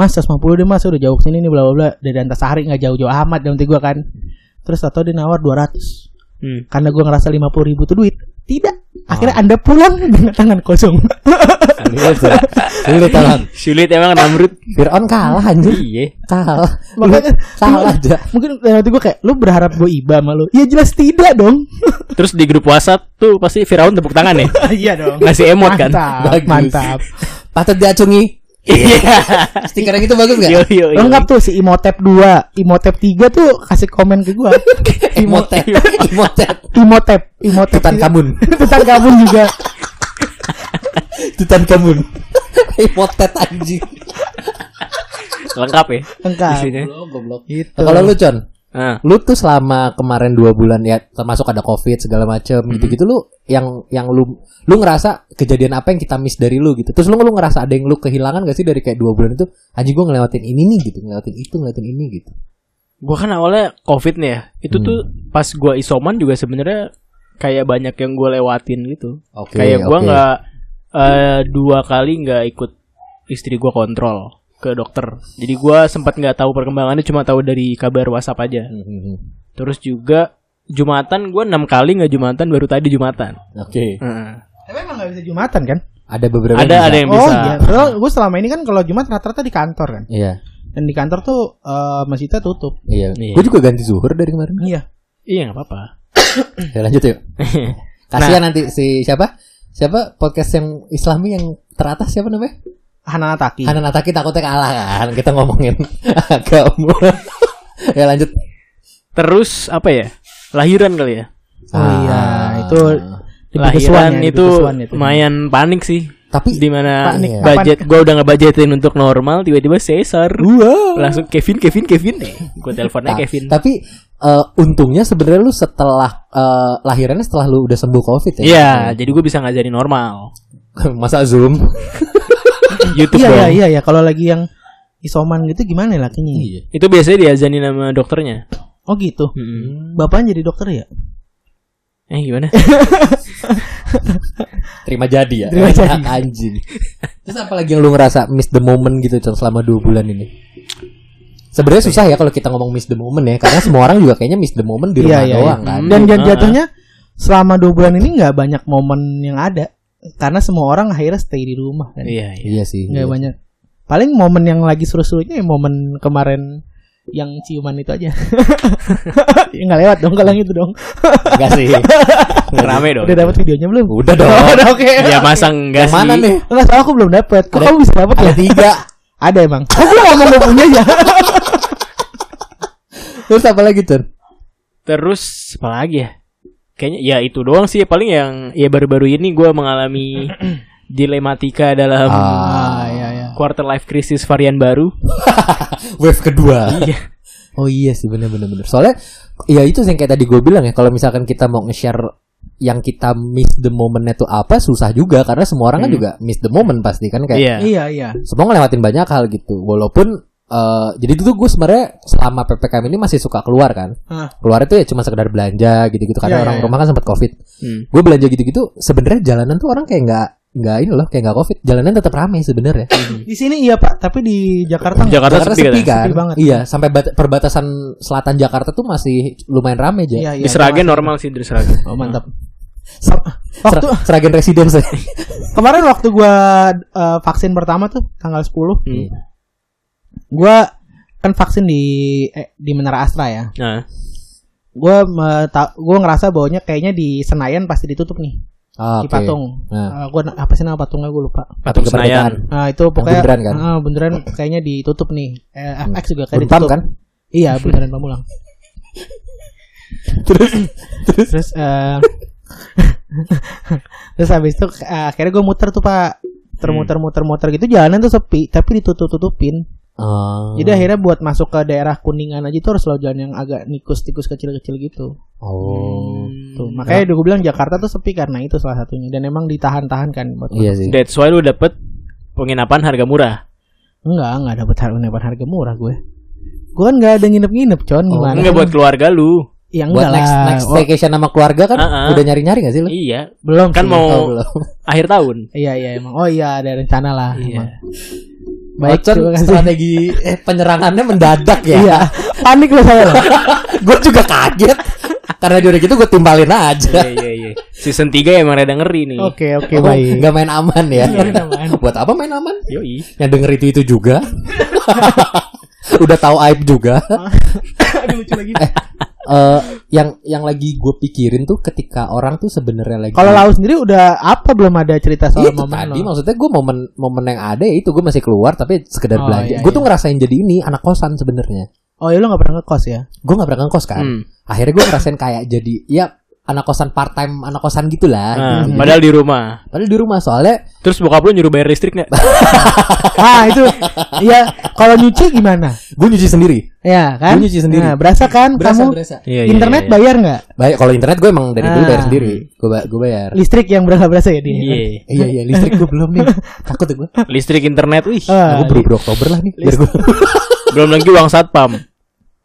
[SPEAKER 2] Mas 150 deh mas udah jauh sini nih bla bla bla dari Antasari nggak jauh-jauh amat dalam gue kan. Terus atau dia nawar 200
[SPEAKER 1] Hmm.
[SPEAKER 2] karena gue ngerasa 50 ribu tuh duit. Tidak. Akhirnya anda pulang dengan tangan kosong. Iya,
[SPEAKER 3] Sulit, sulit. Sulit tangan.
[SPEAKER 1] Sulit emang Namrud.
[SPEAKER 3] Fir'aun kalah anjir.
[SPEAKER 1] iya.
[SPEAKER 3] Kalah.
[SPEAKER 2] Makanya
[SPEAKER 3] Salah aja.
[SPEAKER 2] mungkin dalam hati gue kayak lu berharap gue iba sama lu. Ya jelas tidak dong.
[SPEAKER 1] Terus di grup WhatsApp tuh pasti Firaun tepuk tangan ya.
[SPEAKER 2] Iya dong.
[SPEAKER 1] Ngasih emot kan.
[SPEAKER 2] Mantap,
[SPEAKER 3] Bagus.
[SPEAKER 2] mantap.
[SPEAKER 3] Patut diacungi.
[SPEAKER 1] Iya.
[SPEAKER 3] Stiker yang itu bagus gak?
[SPEAKER 1] Yo yo. yo.
[SPEAKER 2] Lengkap tuh si Imotep 2, Imotep 3 tuh kasih komen ke gue.
[SPEAKER 3] Emotet.
[SPEAKER 1] Iya.
[SPEAKER 3] Emotet.
[SPEAKER 2] Imotep, Imotep
[SPEAKER 3] Tutan Kamun.
[SPEAKER 2] Tentang kamu juga.
[SPEAKER 3] Tutan Kamun. Emotet anjing.
[SPEAKER 1] Lengkap ya.
[SPEAKER 2] Lengkap.
[SPEAKER 1] Isinya.
[SPEAKER 3] Goblok.
[SPEAKER 2] Gitu.
[SPEAKER 3] Nah, Kalau lu Con,
[SPEAKER 1] Ah.
[SPEAKER 3] lu tuh selama kemarin dua bulan ya termasuk ada covid segala macem gitu-gitu lu yang yang lu lu ngerasa kejadian apa yang kita miss dari lu gitu terus lu lu ngerasa ada yang lu kehilangan gak sih dari kayak dua bulan itu anjing gua ngelewatin ini nih gitu ngelewatin itu ngelewatin ini gitu
[SPEAKER 1] Gua kan awalnya covid nih ya. Itu
[SPEAKER 3] Hmm.
[SPEAKER 1] tuh pas gua isoman juga sebenarnya kayak banyak yang gua lewatin gitu.
[SPEAKER 3] oke
[SPEAKER 1] kayak gua
[SPEAKER 3] oke.
[SPEAKER 1] nggak eh, dua kali nggak ikut istri gua kontrol ke dokter. Jadi gua sempat nggak tahu perkembangannya cuma tahu dari kabar WhatsApp aja.
[SPEAKER 3] Hmm, hmm, hmm.
[SPEAKER 1] Terus juga Jumatan gua enam kali nggak Jumatan baru tadi Jumatan.
[SPEAKER 3] oke Hmm.
[SPEAKER 1] Heeh.
[SPEAKER 2] Tapi emang gak bisa jumatan kan?
[SPEAKER 3] ada beberapa
[SPEAKER 1] Ada ada yang
[SPEAKER 2] oh
[SPEAKER 1] bisa.
[SPEAKER 2] iya. Kalau gue selama ini kan kalau jumat rata-rata di kantor kan.
[SPEAKER 3] iya
[SPEAKER 2] Dan di kantor tuh eh, masjidnya tutup.
[SPEAKER 3] iya
[SPEAKER 1] Iya.
[SPEAKER 3] gua juga ganti zuhur dari kemarin
[SPEAKER 2] Iya.
[SPEAKER 1] Iya Nah. nggak apa-apa.
[SPEAKER 3] ya lanjut yuk kasihan nanti si siapa siapa podcast yang islami yang teratas siapa namanya
[SPEAKER 2] Hanana Taki.
[SPEAKER 3] Hanan Ataki takutnya kalah kan kita ngomongin agama ya lanjut
[SPEAKER 1] Terus apa ya? Lahiran kali ya.
[SPEAKER 2] Oh iya, itu di
[SPEAKER 1] Lahiran
[SPEAKER 2] pegesuan ya, di
[SPEAKER 1] itu
[SPEAKER 2] pegesuan itu.
[SPEAKER 1] lumayan panik sih.
[SPEAKER 3] tapi
[SPEAKER 1] di mana
[SPEAKER 2] Panik, Uh.
[SPEAKER 1] budget gua udah ngebajetin untuk normal tiba-tiba Caesar
[SPEAKER 3] Wow.
[SPEAKER 1] langsung Kevin Kevin Kevin deh gue teleponnya
[SPEAKER 3] Ta-
[SPEAKER 1] Kevin
[SPEAKER 3] tapi eh, untungnya sebenarnya lu setelah eh, lahirannya setelah lu udah sembuh covid ya
[SPEAKER 1] Iya, jadi gue bisa ngajarin normal.
[SPEAKER 3] masa zoom
[SPEAKER 1] YouTube
[SPEAKER 2] Iya iya
[SPEAKER 1] dong.
[SPEAKER 2] iya ya. Kalau lagi yang isoman gitu gimana lakinya?
[SPEAKER 3] iya
[SPEAKER 1] Itu biasanya diajarin sama dokternya.
[SPEAKER 2] Oh gitu.
[SPEAKER 1] Mm-mm.
[SPEAKER 2] Bapaknya jadi dokter ya?
[SPEAKER 1] Eh gimana?
[SPEAKER 3] terima jadi ya
[SPEAKER 2] Terima jadi.
[SPEAKER 3] anjing terus apalagi yang lu ngerasa miss the moment gitu Chan, selama dua bulan ini sebenarnya susah ya kalau kita ngomong miss the moment ya karena semua orang juga kayaknya miss the moment di
[SPEAKER 2] Iya,
[SPEAKER 3] rumah
[SPEAKER 2] iya,
[SPEAKER 3] doang
[SPEAKER 1] iya.
[SPEAKER 3] kan
[SPEAKER 2] Dan jat-
[SPEAKER 1] Ah.
[SPEAKER 2] jatuhnya selama dua bulan ini nggak banyak momen yang ada karena semua orang akhirnya stay di rumah kan.
[SPEAKER 1] iya, iya.
[SPEAKER 3] iya sih
[SPEAKER 2] Nggak
[SPEAKER 3] iya.
[SPEAKER 2] banyak. Paling momen yang lagi seru-serunya ya momen kemarin yang ciuman itu aja. Ya, Nggak lewat dong kalau yang itu dong.
[SPEAKER 3] Enggak sih
[SPEAKER 1] Rame Iya dong.
[SPEAKER 2] Udah dapat videonya belum?
[SPEAKER 3] udah dong
[SPEAKER 2] Oh, udah oke.
[SPEAKER 1] Ya masa enggak
[SPEAKER 3] yang
[SPEAKER 1] sih?
[SPEAKER 3] mana nih
[SPEAKER 2] Enggak soal aku belum dapat. Kok
[SPEAKER 3] Ada-
[SPEAKER 2] kamu bisa dapat ya?
[SPEAKER 3] ada tiga
[SPEAKER 2] Ada emang. Oh, Aku ngomong lu punya ya.
[SPEAKER 3] Terus apa lagi Chan?
[SPEAKER 1] Terus apa lagi ya? Kayaknya ya itu doang sih paling yang ya baru-baru ini gue mengalami dilematika dalam
[SPEAKER 2] Ah, iya iya.
[SPEAKER 1] quarter life crisis varian baru.
[SPEAKER 3] Wave kedua
[SPEAKER 1] Iya.
[SPEAKER 3] Oh iya sih bener bener bener Soalnya Ya itu sih yang kayak tadi gue bilang ya Kalau misalkan kita mau nge-share Yang kita miss the momentnya tuh apa Susah juga Karena semua orang kan
[SPEAKER 1] Hmm.
[SPEAKER 3] juga miss the moment pasti kan Kayak
[SPEAKER 1] Iya.
[SPEAKER 2] Iya iya.
[SPEAKER 3] semua ngelewatin banyak hal gitu Walaupun eh, Jadi itu tuh gue sebenarnya Selama PPKM ini masih suka keluar kan
[SPEAKER 2] Hah.
[SPEAKER 3] Keluar itu ya cuma sekedar belanja gitu-gitu
[SPEAKER 2] Iya,
[SPEAKER 3] Karena orang
[SPEAKER 2] iya,
[SPEAKER 3] rumah kan sempat covid
[SPEAKER 1] Hmm.
[SPEAKER 3] Gue belanja gitu-gitu sebenarnya jalanan tuh orang kayak nggak nggak ini loh kayak nggak covid jalanan tetap ramai sebenarnya
[SPEAKER 2] Di sini iya Pak, tapi di Jakarta nggak.
[SPEAKER 1] Jakarta, sepi,
[SPEAKER 3] sepi
[SPEAKER 1] kan?
[SPEAKER 3] kan?
[SPEAKER 2] Sepi banget.
[SPEAKER 3] Iya, sampai bat- perbatasan selatan Jakarta tuh masih lumayan rame aja.
[SPEAKER 2] Iya
[SPEAKER 1] Di Seragen normal sih di Seragen.
[SPEAKER 2] Oh mantap. Waktu
[SPEAKER 3] Seragen Residence.
[SPEAKER 2] kemarin waktu gua eh, vaksin pertama tuh tanggal 10,
[SPEAKER 1] Hmm.
[SPEAKER 2] gua kan vaksin di eh, di Menara Astra ya.
[SPEAKER 1] Nah,
[SPEAKER 2] Gua me- ta- gua ngerasa baunya kayaknya di Senayan pasti ditutup nih,
[SPEAKER 3] Ah,
[SPEAKER 2] di
[SPEAKER 3] oke.
[SPEAKER 2] patung.
[SPEAKER 3] Nah.
[SPEAKER 2] Eh, gua na- apa sih nama patungnya gua lupa.
[SPEAKER 1] patung
[SPEAKER 3] kemerdekaan.
[SPEAKER 1] Senayan.
[SPEAKER 2] Nah, itu pokoknya
[SPEAKER 3] bundaran kan?
[SPEAKER 2] Ah, bundaran kayaknya ditutup nih. Eh, FX juga kayak
[SPEAKER 3] Unpam
[SPEAKER 2] ditutup.
[SPEAKER 3] kan?
[SPEAKER 2] Iya, bundaran Pamulang.
[SPEAKER 3] Terus terus
[SPEAKER 2] Terus eh Terus habis itu eh, akhirnya gue muter tuh Pak.
[SPEAKER 3] Hmm.
[SPEAKER 2] Termuter-muter-muter gitu jalanan tuh sepi tapi ditutup-tutupin.
[SPEAKER 3] Ah.
[SPEAKER 2] Jadi akhirnya buat masuk ke daerah Kuningan aja tuh harus lewat jalan yang agak nikus-tikus kecil-kecil gitu.
[SPEAKER 1] Hmm.
[SPEAKER 3] Oh.
[SPEAKER 2] Tuh, Gitu. makanya gue bilang Jakarta tuh sepi karena itu salah satunya dan emang ditahan-tahan kan buat
[SPEAKER 3] Iya sih.
[SPEAKER 1] Nah, That's why lu dapet penginapan harga murah.
[SPEAKER 2] Enggak, enggak dapat harga dapat harga murah gue. Gue kan enggak ada nginep-nginep, con, gimana?
[SPEAKER 1] Enggak buat keluarga lu.
[SPEAKER 2] Ya enggak
[SPEAKER 3] Oh, Buat next
[SPEAKER 2] lah.
[SPEAKER 3] next
[SPEAKER 2] Oh,
[SPEAKER 3] vacation sama keluarga kan
[SPEAKER 1] Ah, ah.
[SPEAKER 3] udah nyari-nyari gak sih lu?
[SPEAKER 1] Iya,
[SPEAKER 2] belum
[SPEAKER 1] kan
[SPEAKER 2] sih.
[SPEAKER 1] mau
[SPEAKER 3] Oh, belum.
[SPEAKER 1] akhir tahun.
[SPEAKER 2] Iya, iya emang. Oh iya, ada rencana lah.
[SPEAKER 1] Iya.
[SPEAKER 2] emang. Baik,
[SPEAKER 3] Ocon,
[SPEAKER 2] terima kasih.
[SPEAKER 3] strategi eh, penyerangannya mendadak ya.
[SPEAKER 2] Iya, panik loh saya.
[SPEAKER 3] Iya.
[SPEAKER 2] loh.
[SPEAKER 3] gue juga kaget. Karena dia udah gitu gue timbalin aja.
[SPEAKER 1] Iya iya iya. Season 3 emang rada ngeri nih.
[SPEAKER 2] Oke, oke,
[SPEAKER 3] Oh,
[SPEAKER 2] baik.
[SPEAKER 3] nggak main aman ya.
[SPEAKER 2] Nggak Iya. main aman.
[SPEAKER 3] Buat apa main aman?
[SPEAKER 1] Yoi.
[SPEAKER 3] yang denger itu itu juga udah tahu aib juga
[SPEAKER 2] Aduh, lucu lagi.
[SPEAKER 3] Eh, yang yang lagi gue pikirin tuh ketika orang tuh sebenarnya lagi
[SPEAKER 2] Kalau Lau sendiri udah apa belum ada cerita soal
[SPEAKER 3] itu
[SPEAKER 2] momen
[SPEAKER 3] tadi
[SPEAKER 2] lo?
[SPEAKER 3] maksudnya gue momen momen yang ada ya itu gue masih keluar tapi sekedar
[SPEAKER 2] Oh,
[SPEAKER 3] belanja
[SPEAKER 2] iya,
[SPEAKER 3] gue tuh
[SPEAKER 2] iya.
[SPEAKER 3] ngerasain jadi ini anak kosan sebenarnya
[SPEAKER 2] Oh, ya lo gak pernah ngekos ya?
[SPEAKER 3] gue nggak pernah ngekos kan
[SPEAKER 1] Hmm.
[SPEAKER 3] akhirnya gue ngerasain kayak jadi ya anak kosan part time anak kosan gitulah
[SPEAKER 1] Nah,
[SPEAKER 3] gitu.
[SPEAKER 1] padahal di rumah.
[SPEAKER 3] padahal di rumah soalnya
[SPEAKER 1] Terus bokap lu nyuruh bayar listrik nggak?
[SPEAKER 2] ah itu ya kalau nyuci gimana
[SPEAKER 3] gue nyuci sendiri
[SPEAKER 2] ya kan
[SPEAKER 3] Gua nyuci sendiri.
[SPEAKER 2] nah, berasa kan
[SPEAKER 3] Berasa,
[SPEAKER 2] kamu
[SPEAKER 3] berasa.
[SPEAKER 1] Iya, iya,
[SPEAKER 2] internet
[SPEAKER 1] iya.
[SPEAKER 2] bayar nggak
[SPEAKER 3] baik kalau internet gue emang dari dulu bayar
[SPEAKER 2] Ah.
[SPEAKER 3] sendiri gue ba- gue bayar
[SPEAKER 2] listrik yang berasa berasa ya dia
[SPEAKER 1] Iya.
[SPEAKER 3] Eh, iya iya listrik gue belum nih takut gue
[SPEAKER 1] Listrik internet, wih.
[SPEAKER 2] Ah,
[SPEAKER 3] Nah, gue buru-buru Oktober lah nih biar gue
[SPEAKER 1] Belum lagi uang satpam.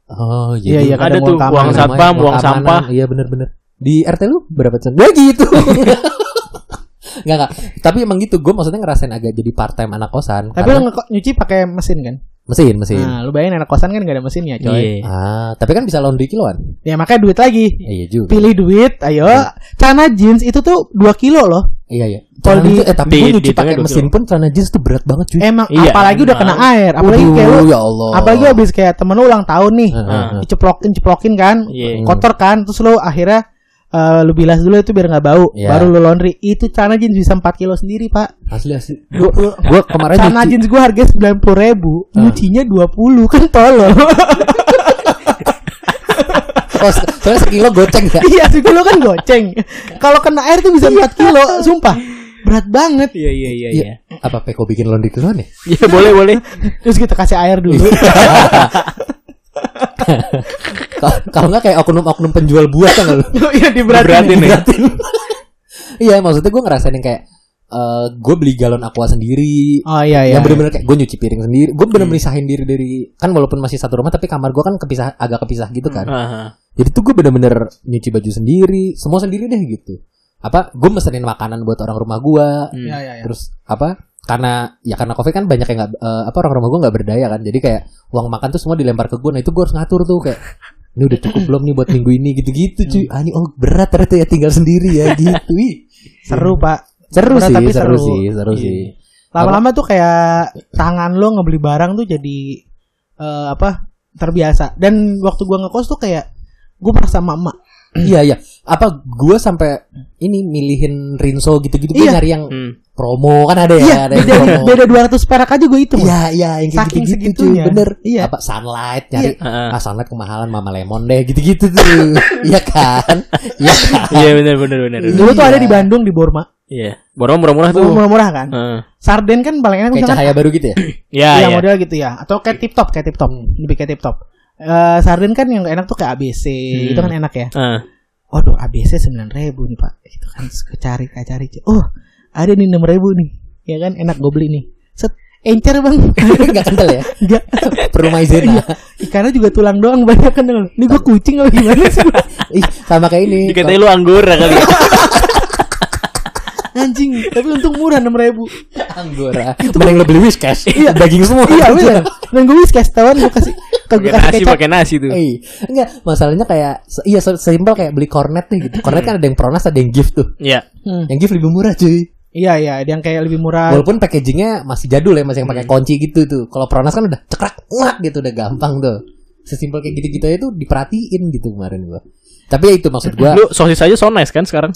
[SPEAKER 3] oh
[SPEAKER 2] Iya, iya,
[SPEAKER 1] Ada
[SPEAKER 2] kadang
[SPEAKER 1] tuh
[SPEAKER 2] uang
[SPEAKER 1] uang
[SPEAKER 2] keamanan,
[SPEAKER 1] satpam,
[SPEAKER 3] namanya,
[SPEAKER 1] uang
[SPEAKER 3] keamanan.
[SPEAKER 1] sampah.
[SPEAKER 3] iya bener-bener di RT lu berapa persen ya gitu Enggak, enggak. Tapi emang gitu, gue maksudnya ngerasain agak jadi part time anak kosan.
[SPEAKER 2] tapi
[SPEAKER 3] karena-
[SPEAKER 2] lu ngeko- nyuci pakai mesin kan
[SPEAKER 3] mesin, mesin.
[SPEAKER 2] nah lu bayangin anak kosan kan gak ada mesinnya coy
[SPEAKER 1] Iya.
[SPEAKER 3] Ah, tapi kan bisa laundry kiloan.
[SPEAKER 2] ya makanya duit lagi
[SPEAKER 3] Iya iya juga.
[SPEAKER 2] pilih duit ayo celana jeans itu tuh 2 kilo loh
[SPEAKER 3] Iya iya.
[SPEAKER 2] Kalau
[SPEAKER 3] Celana
[SPEAKER 2] di-
[SPEAKER 3] itu- eh tapi
[SPEAKER 1] di-
[SPEAKER 3] gue
[SPEAKER 1] di
[SPEAKER 3] nyuci
[SPEAKER 1] tengah
[SPEAKER 3] pakai
[SPEAKER 1] dua
[SPEAKER 3] mesin
[SPEAKER 1] kilo.
[SPEAKER 3] pun celana jeans tuh berat banget cuy.
[SPEAKER 2] emang
[SPEAKER 1] Iya,
[SPEAKER 2] apalagi udah kena
[SPEAKER 1] emang.
[SPEAKER 2] air apalagi
[SPEAKER 3] Waduh,
[SPEAKER 2] kayak lu
[SPEAKER 3] ya Allah. Iya.
[SPEAKER 2] apalagi habis kayak temen lu ulang tahun nih
[SPEAKER 3] Heeh, heeh.
[SPEAKER 2] diceplokin ceplokin kan
[SPEAKER 1] Iya.
[SPEAKER 2] kotor kan terus lu akhirnya eh, lu bilas dulu itu biar nggak bau
[SPEAKER 3] Iya.
[SPEAKER 2] baru lu laundry itu celana jeans bisa 4 kilo sendiri pak
[SPEAKER 3] Asli asli. Gue kemarin
[SPEAKER 2] celana
[SPEAKER 3] nyuci.
[SPEAKER 2] jeans gua harganya sembilan puluh ribu nyucinya dua puluh kan tolol
[SPEAKER 3] Oh, se- soalnya sekilo goceng ya.
[SPEAKER 2] iya sih lu kan goceng kalau kena air tuh bisa 4 kilo sumpah berat banget
[SPEAKER 1] Iya iya iya
[SPEAKER 3] Iya. Apa Peko bikin laundry kiloan ya?
[SPEAKER 1] Iya boleh boleh.
[SPEAKER 2] terus kita kasih air dulu
[SPEAKER 3] Iya. Ka- Kalau nggak kayak oknum-oknum penjual buah kan lu.
[SPEAKER 2] iya
[SPEAKER 1] Diberatin.
[SPEAKER 2] diberatin
[SPEAKER 1] Ini.
[SPEAKER 3] Diberatin. Iya, maksudnya gue ngerasain yang kayak eh gue beli galon aqua sendiri,
[SPEAKER 2] oh iya iya Hmm.
[SPEAKER 3] yang bener-bener kayak gue nyuci piring sendiri gue bener-bener misahin diri dari kan walaupun masih satu rumah tapi kamar gue kan kepisah agak kepisah gitu
[SPEAKER 2] Hmm.
[SPEAKER 3] kan
[SPEAKER 1] Aha.
[SPEAKER 3] jadi tuh gue bener-bener nyuci baju sendiri semua sendiri deh gitu apa gue mesenin makanan buat orang rumah gue
[SPEAKER 2] Iya, iya, iya.
[SPEAKER 3] terus apa karena ya karena covid kan banyak yang nggak eh, apa orang rumah gue nggak berdaya kan jadi kayak uang makan tuh semua dilempar ke gue nah itu gue harus ngatur tuh kayak ini udah cukup belum nih buat minggu ini gitu-gitu cuy ah ini oh berat ternyata ya tinggal sendiri ya gitu Ih,
[SPEAKER 2] seru pak
[SPEAKER 3] seru
[SPEAKER 2] Berat
[SPEAKER 3] sih
[SPEAKER 2] tapi
[SPEAKER 3] seru, Iya.
[SPEAKER 2] seru.
[SPEAKER 3] sih seru sih
[SPEAKER 2] lama-lama tuh kayak tangan lo ngebeli barang tuh jadi eh, apa terbiasa dan waktu gua ngekos tuh kayak gue merasa mama
[SPEAKER 3] Iya iya. Apa gua sampai ini milihin Rinso gitu-gitu gua
[SPEAKER 2] Iya.
[SPEAKER 3] nyari yang
[SPEAKER 1] Hmm.
[SPEAKER 3] promo kan ada ya,
[SPEAKER 2] iya
[SPEAKER 3] ada yang
[SPEAKER 2] beda
[SPEAKER 3] promo.
[SPEAKER 2] beda dua ratus perak aja gue itu
[SPEAKER 3] Iya iya yang kayak
[SPEAKER 2] Saking
[SPEAKER 3] gitu-gitu cuy,
[SPEAKER 2] segitunya.
[SPEAKER 3] bener.
[SPEAKER 2] Iya.
[SPEAKER 3] Apa sunlight nyari
[SPEAKER 1] Heeh.
[SPEAKER 3] ah sunlight kemahalan Mama Lemon deh gitu-gitu tuh. iya kan? Iya kan?
[SPEAKER 1] Iya benar benar benar.
[SPEAKER 2] dulu tuh ada di Bandung di Borma
[SPEAKER 1] Iya. Borong murah-murah tuh.
[SPEAKER 2] murah-murah kan
[SPEAKER 1] Heeh.
[SPEAKER 2] sarden kan paling enak
[SPEAKER 3] Kayak
[SPEAKER 2] misalkan
[SPEAKER 3] cahaya baru gitu ya.
[SPEAKER 1] Iya
[SPEAKER 2] Iya
[SPEAKER 1] iya.
[SPEAKER 2] model gitu ya atau kayak tip top kayak tip top lebih kayak tip top Eh sarden kan yang enak tuh kayak ABC itu kan enak ya
[SPEAKER 1] Ah.
[SPEAKER 2] waduh ABC sembilan ribu nih pak itu kan terus gue cari gue cari oh ada nih enam ribu nih ya kan enak gue beli nih set encer bang
[SPEAKER 3] Enggak kental ya.
[SPEAKER 2] Enggak. Iya.
[SPEAKER 3] Permaizena.
[SPEAKER 2] ikannya juga tulang doang banyak kan Dol. ini gue kucing apa gimana sih
[SPEAKER 3] Ih, sama kayak ini.
[SPEAKER 2] Iya,
[SPEAKER 1] Dikatain lu anggur ya kali.
[SPEAKER 2] anjing tapi untung murah enam ribu
[SPEAKER 3] Anggora. Mending lo beli Whiskas.
[SPEAKER 2] Iya.
[SPEAKER 3] Daging semua.
[SPEAKER 2] iya bener dan gue whiskas tawon gue kasih
[SPEAKER 1] Pakai
[SPEAKER 2] kalau gue kasih
[SPEAKER 1] nasi
[SPEAKER 2] kecap
[SPEAKER 1] pakai nasi tuh.
[SPEAKER 3] Eh, enggak, masalahnya kayak se- iya se- sesimpel kayak beli cornet nih gitu. Cornet kan ada yang pronas, ada yang gift tuh.
[SPEAKER 1] Iya.
[SPEAKER 2] Hmm.
[SPEAKER 3] Yang gift lebih murah cuy.
[SPEAKER 2] iya iya ada yang kayak lebih murah
[SPEAKER 3] Walaupun packagingnya masih jadul ya, masih yang
[SPEAKER 2] Hmm.
[SPEAKER 3] pakai kunci gitu tuh. Kalau Pronas kan udah cekrak, wah gitu udah gampang tuh. Sesimpel kayak gitu-gitu aja tuh diperhatiin gitu kemarin gua. Tapi ya itu maksud gua.
[SPEAKER 1] Lu sosis aja so nice kan sekarang?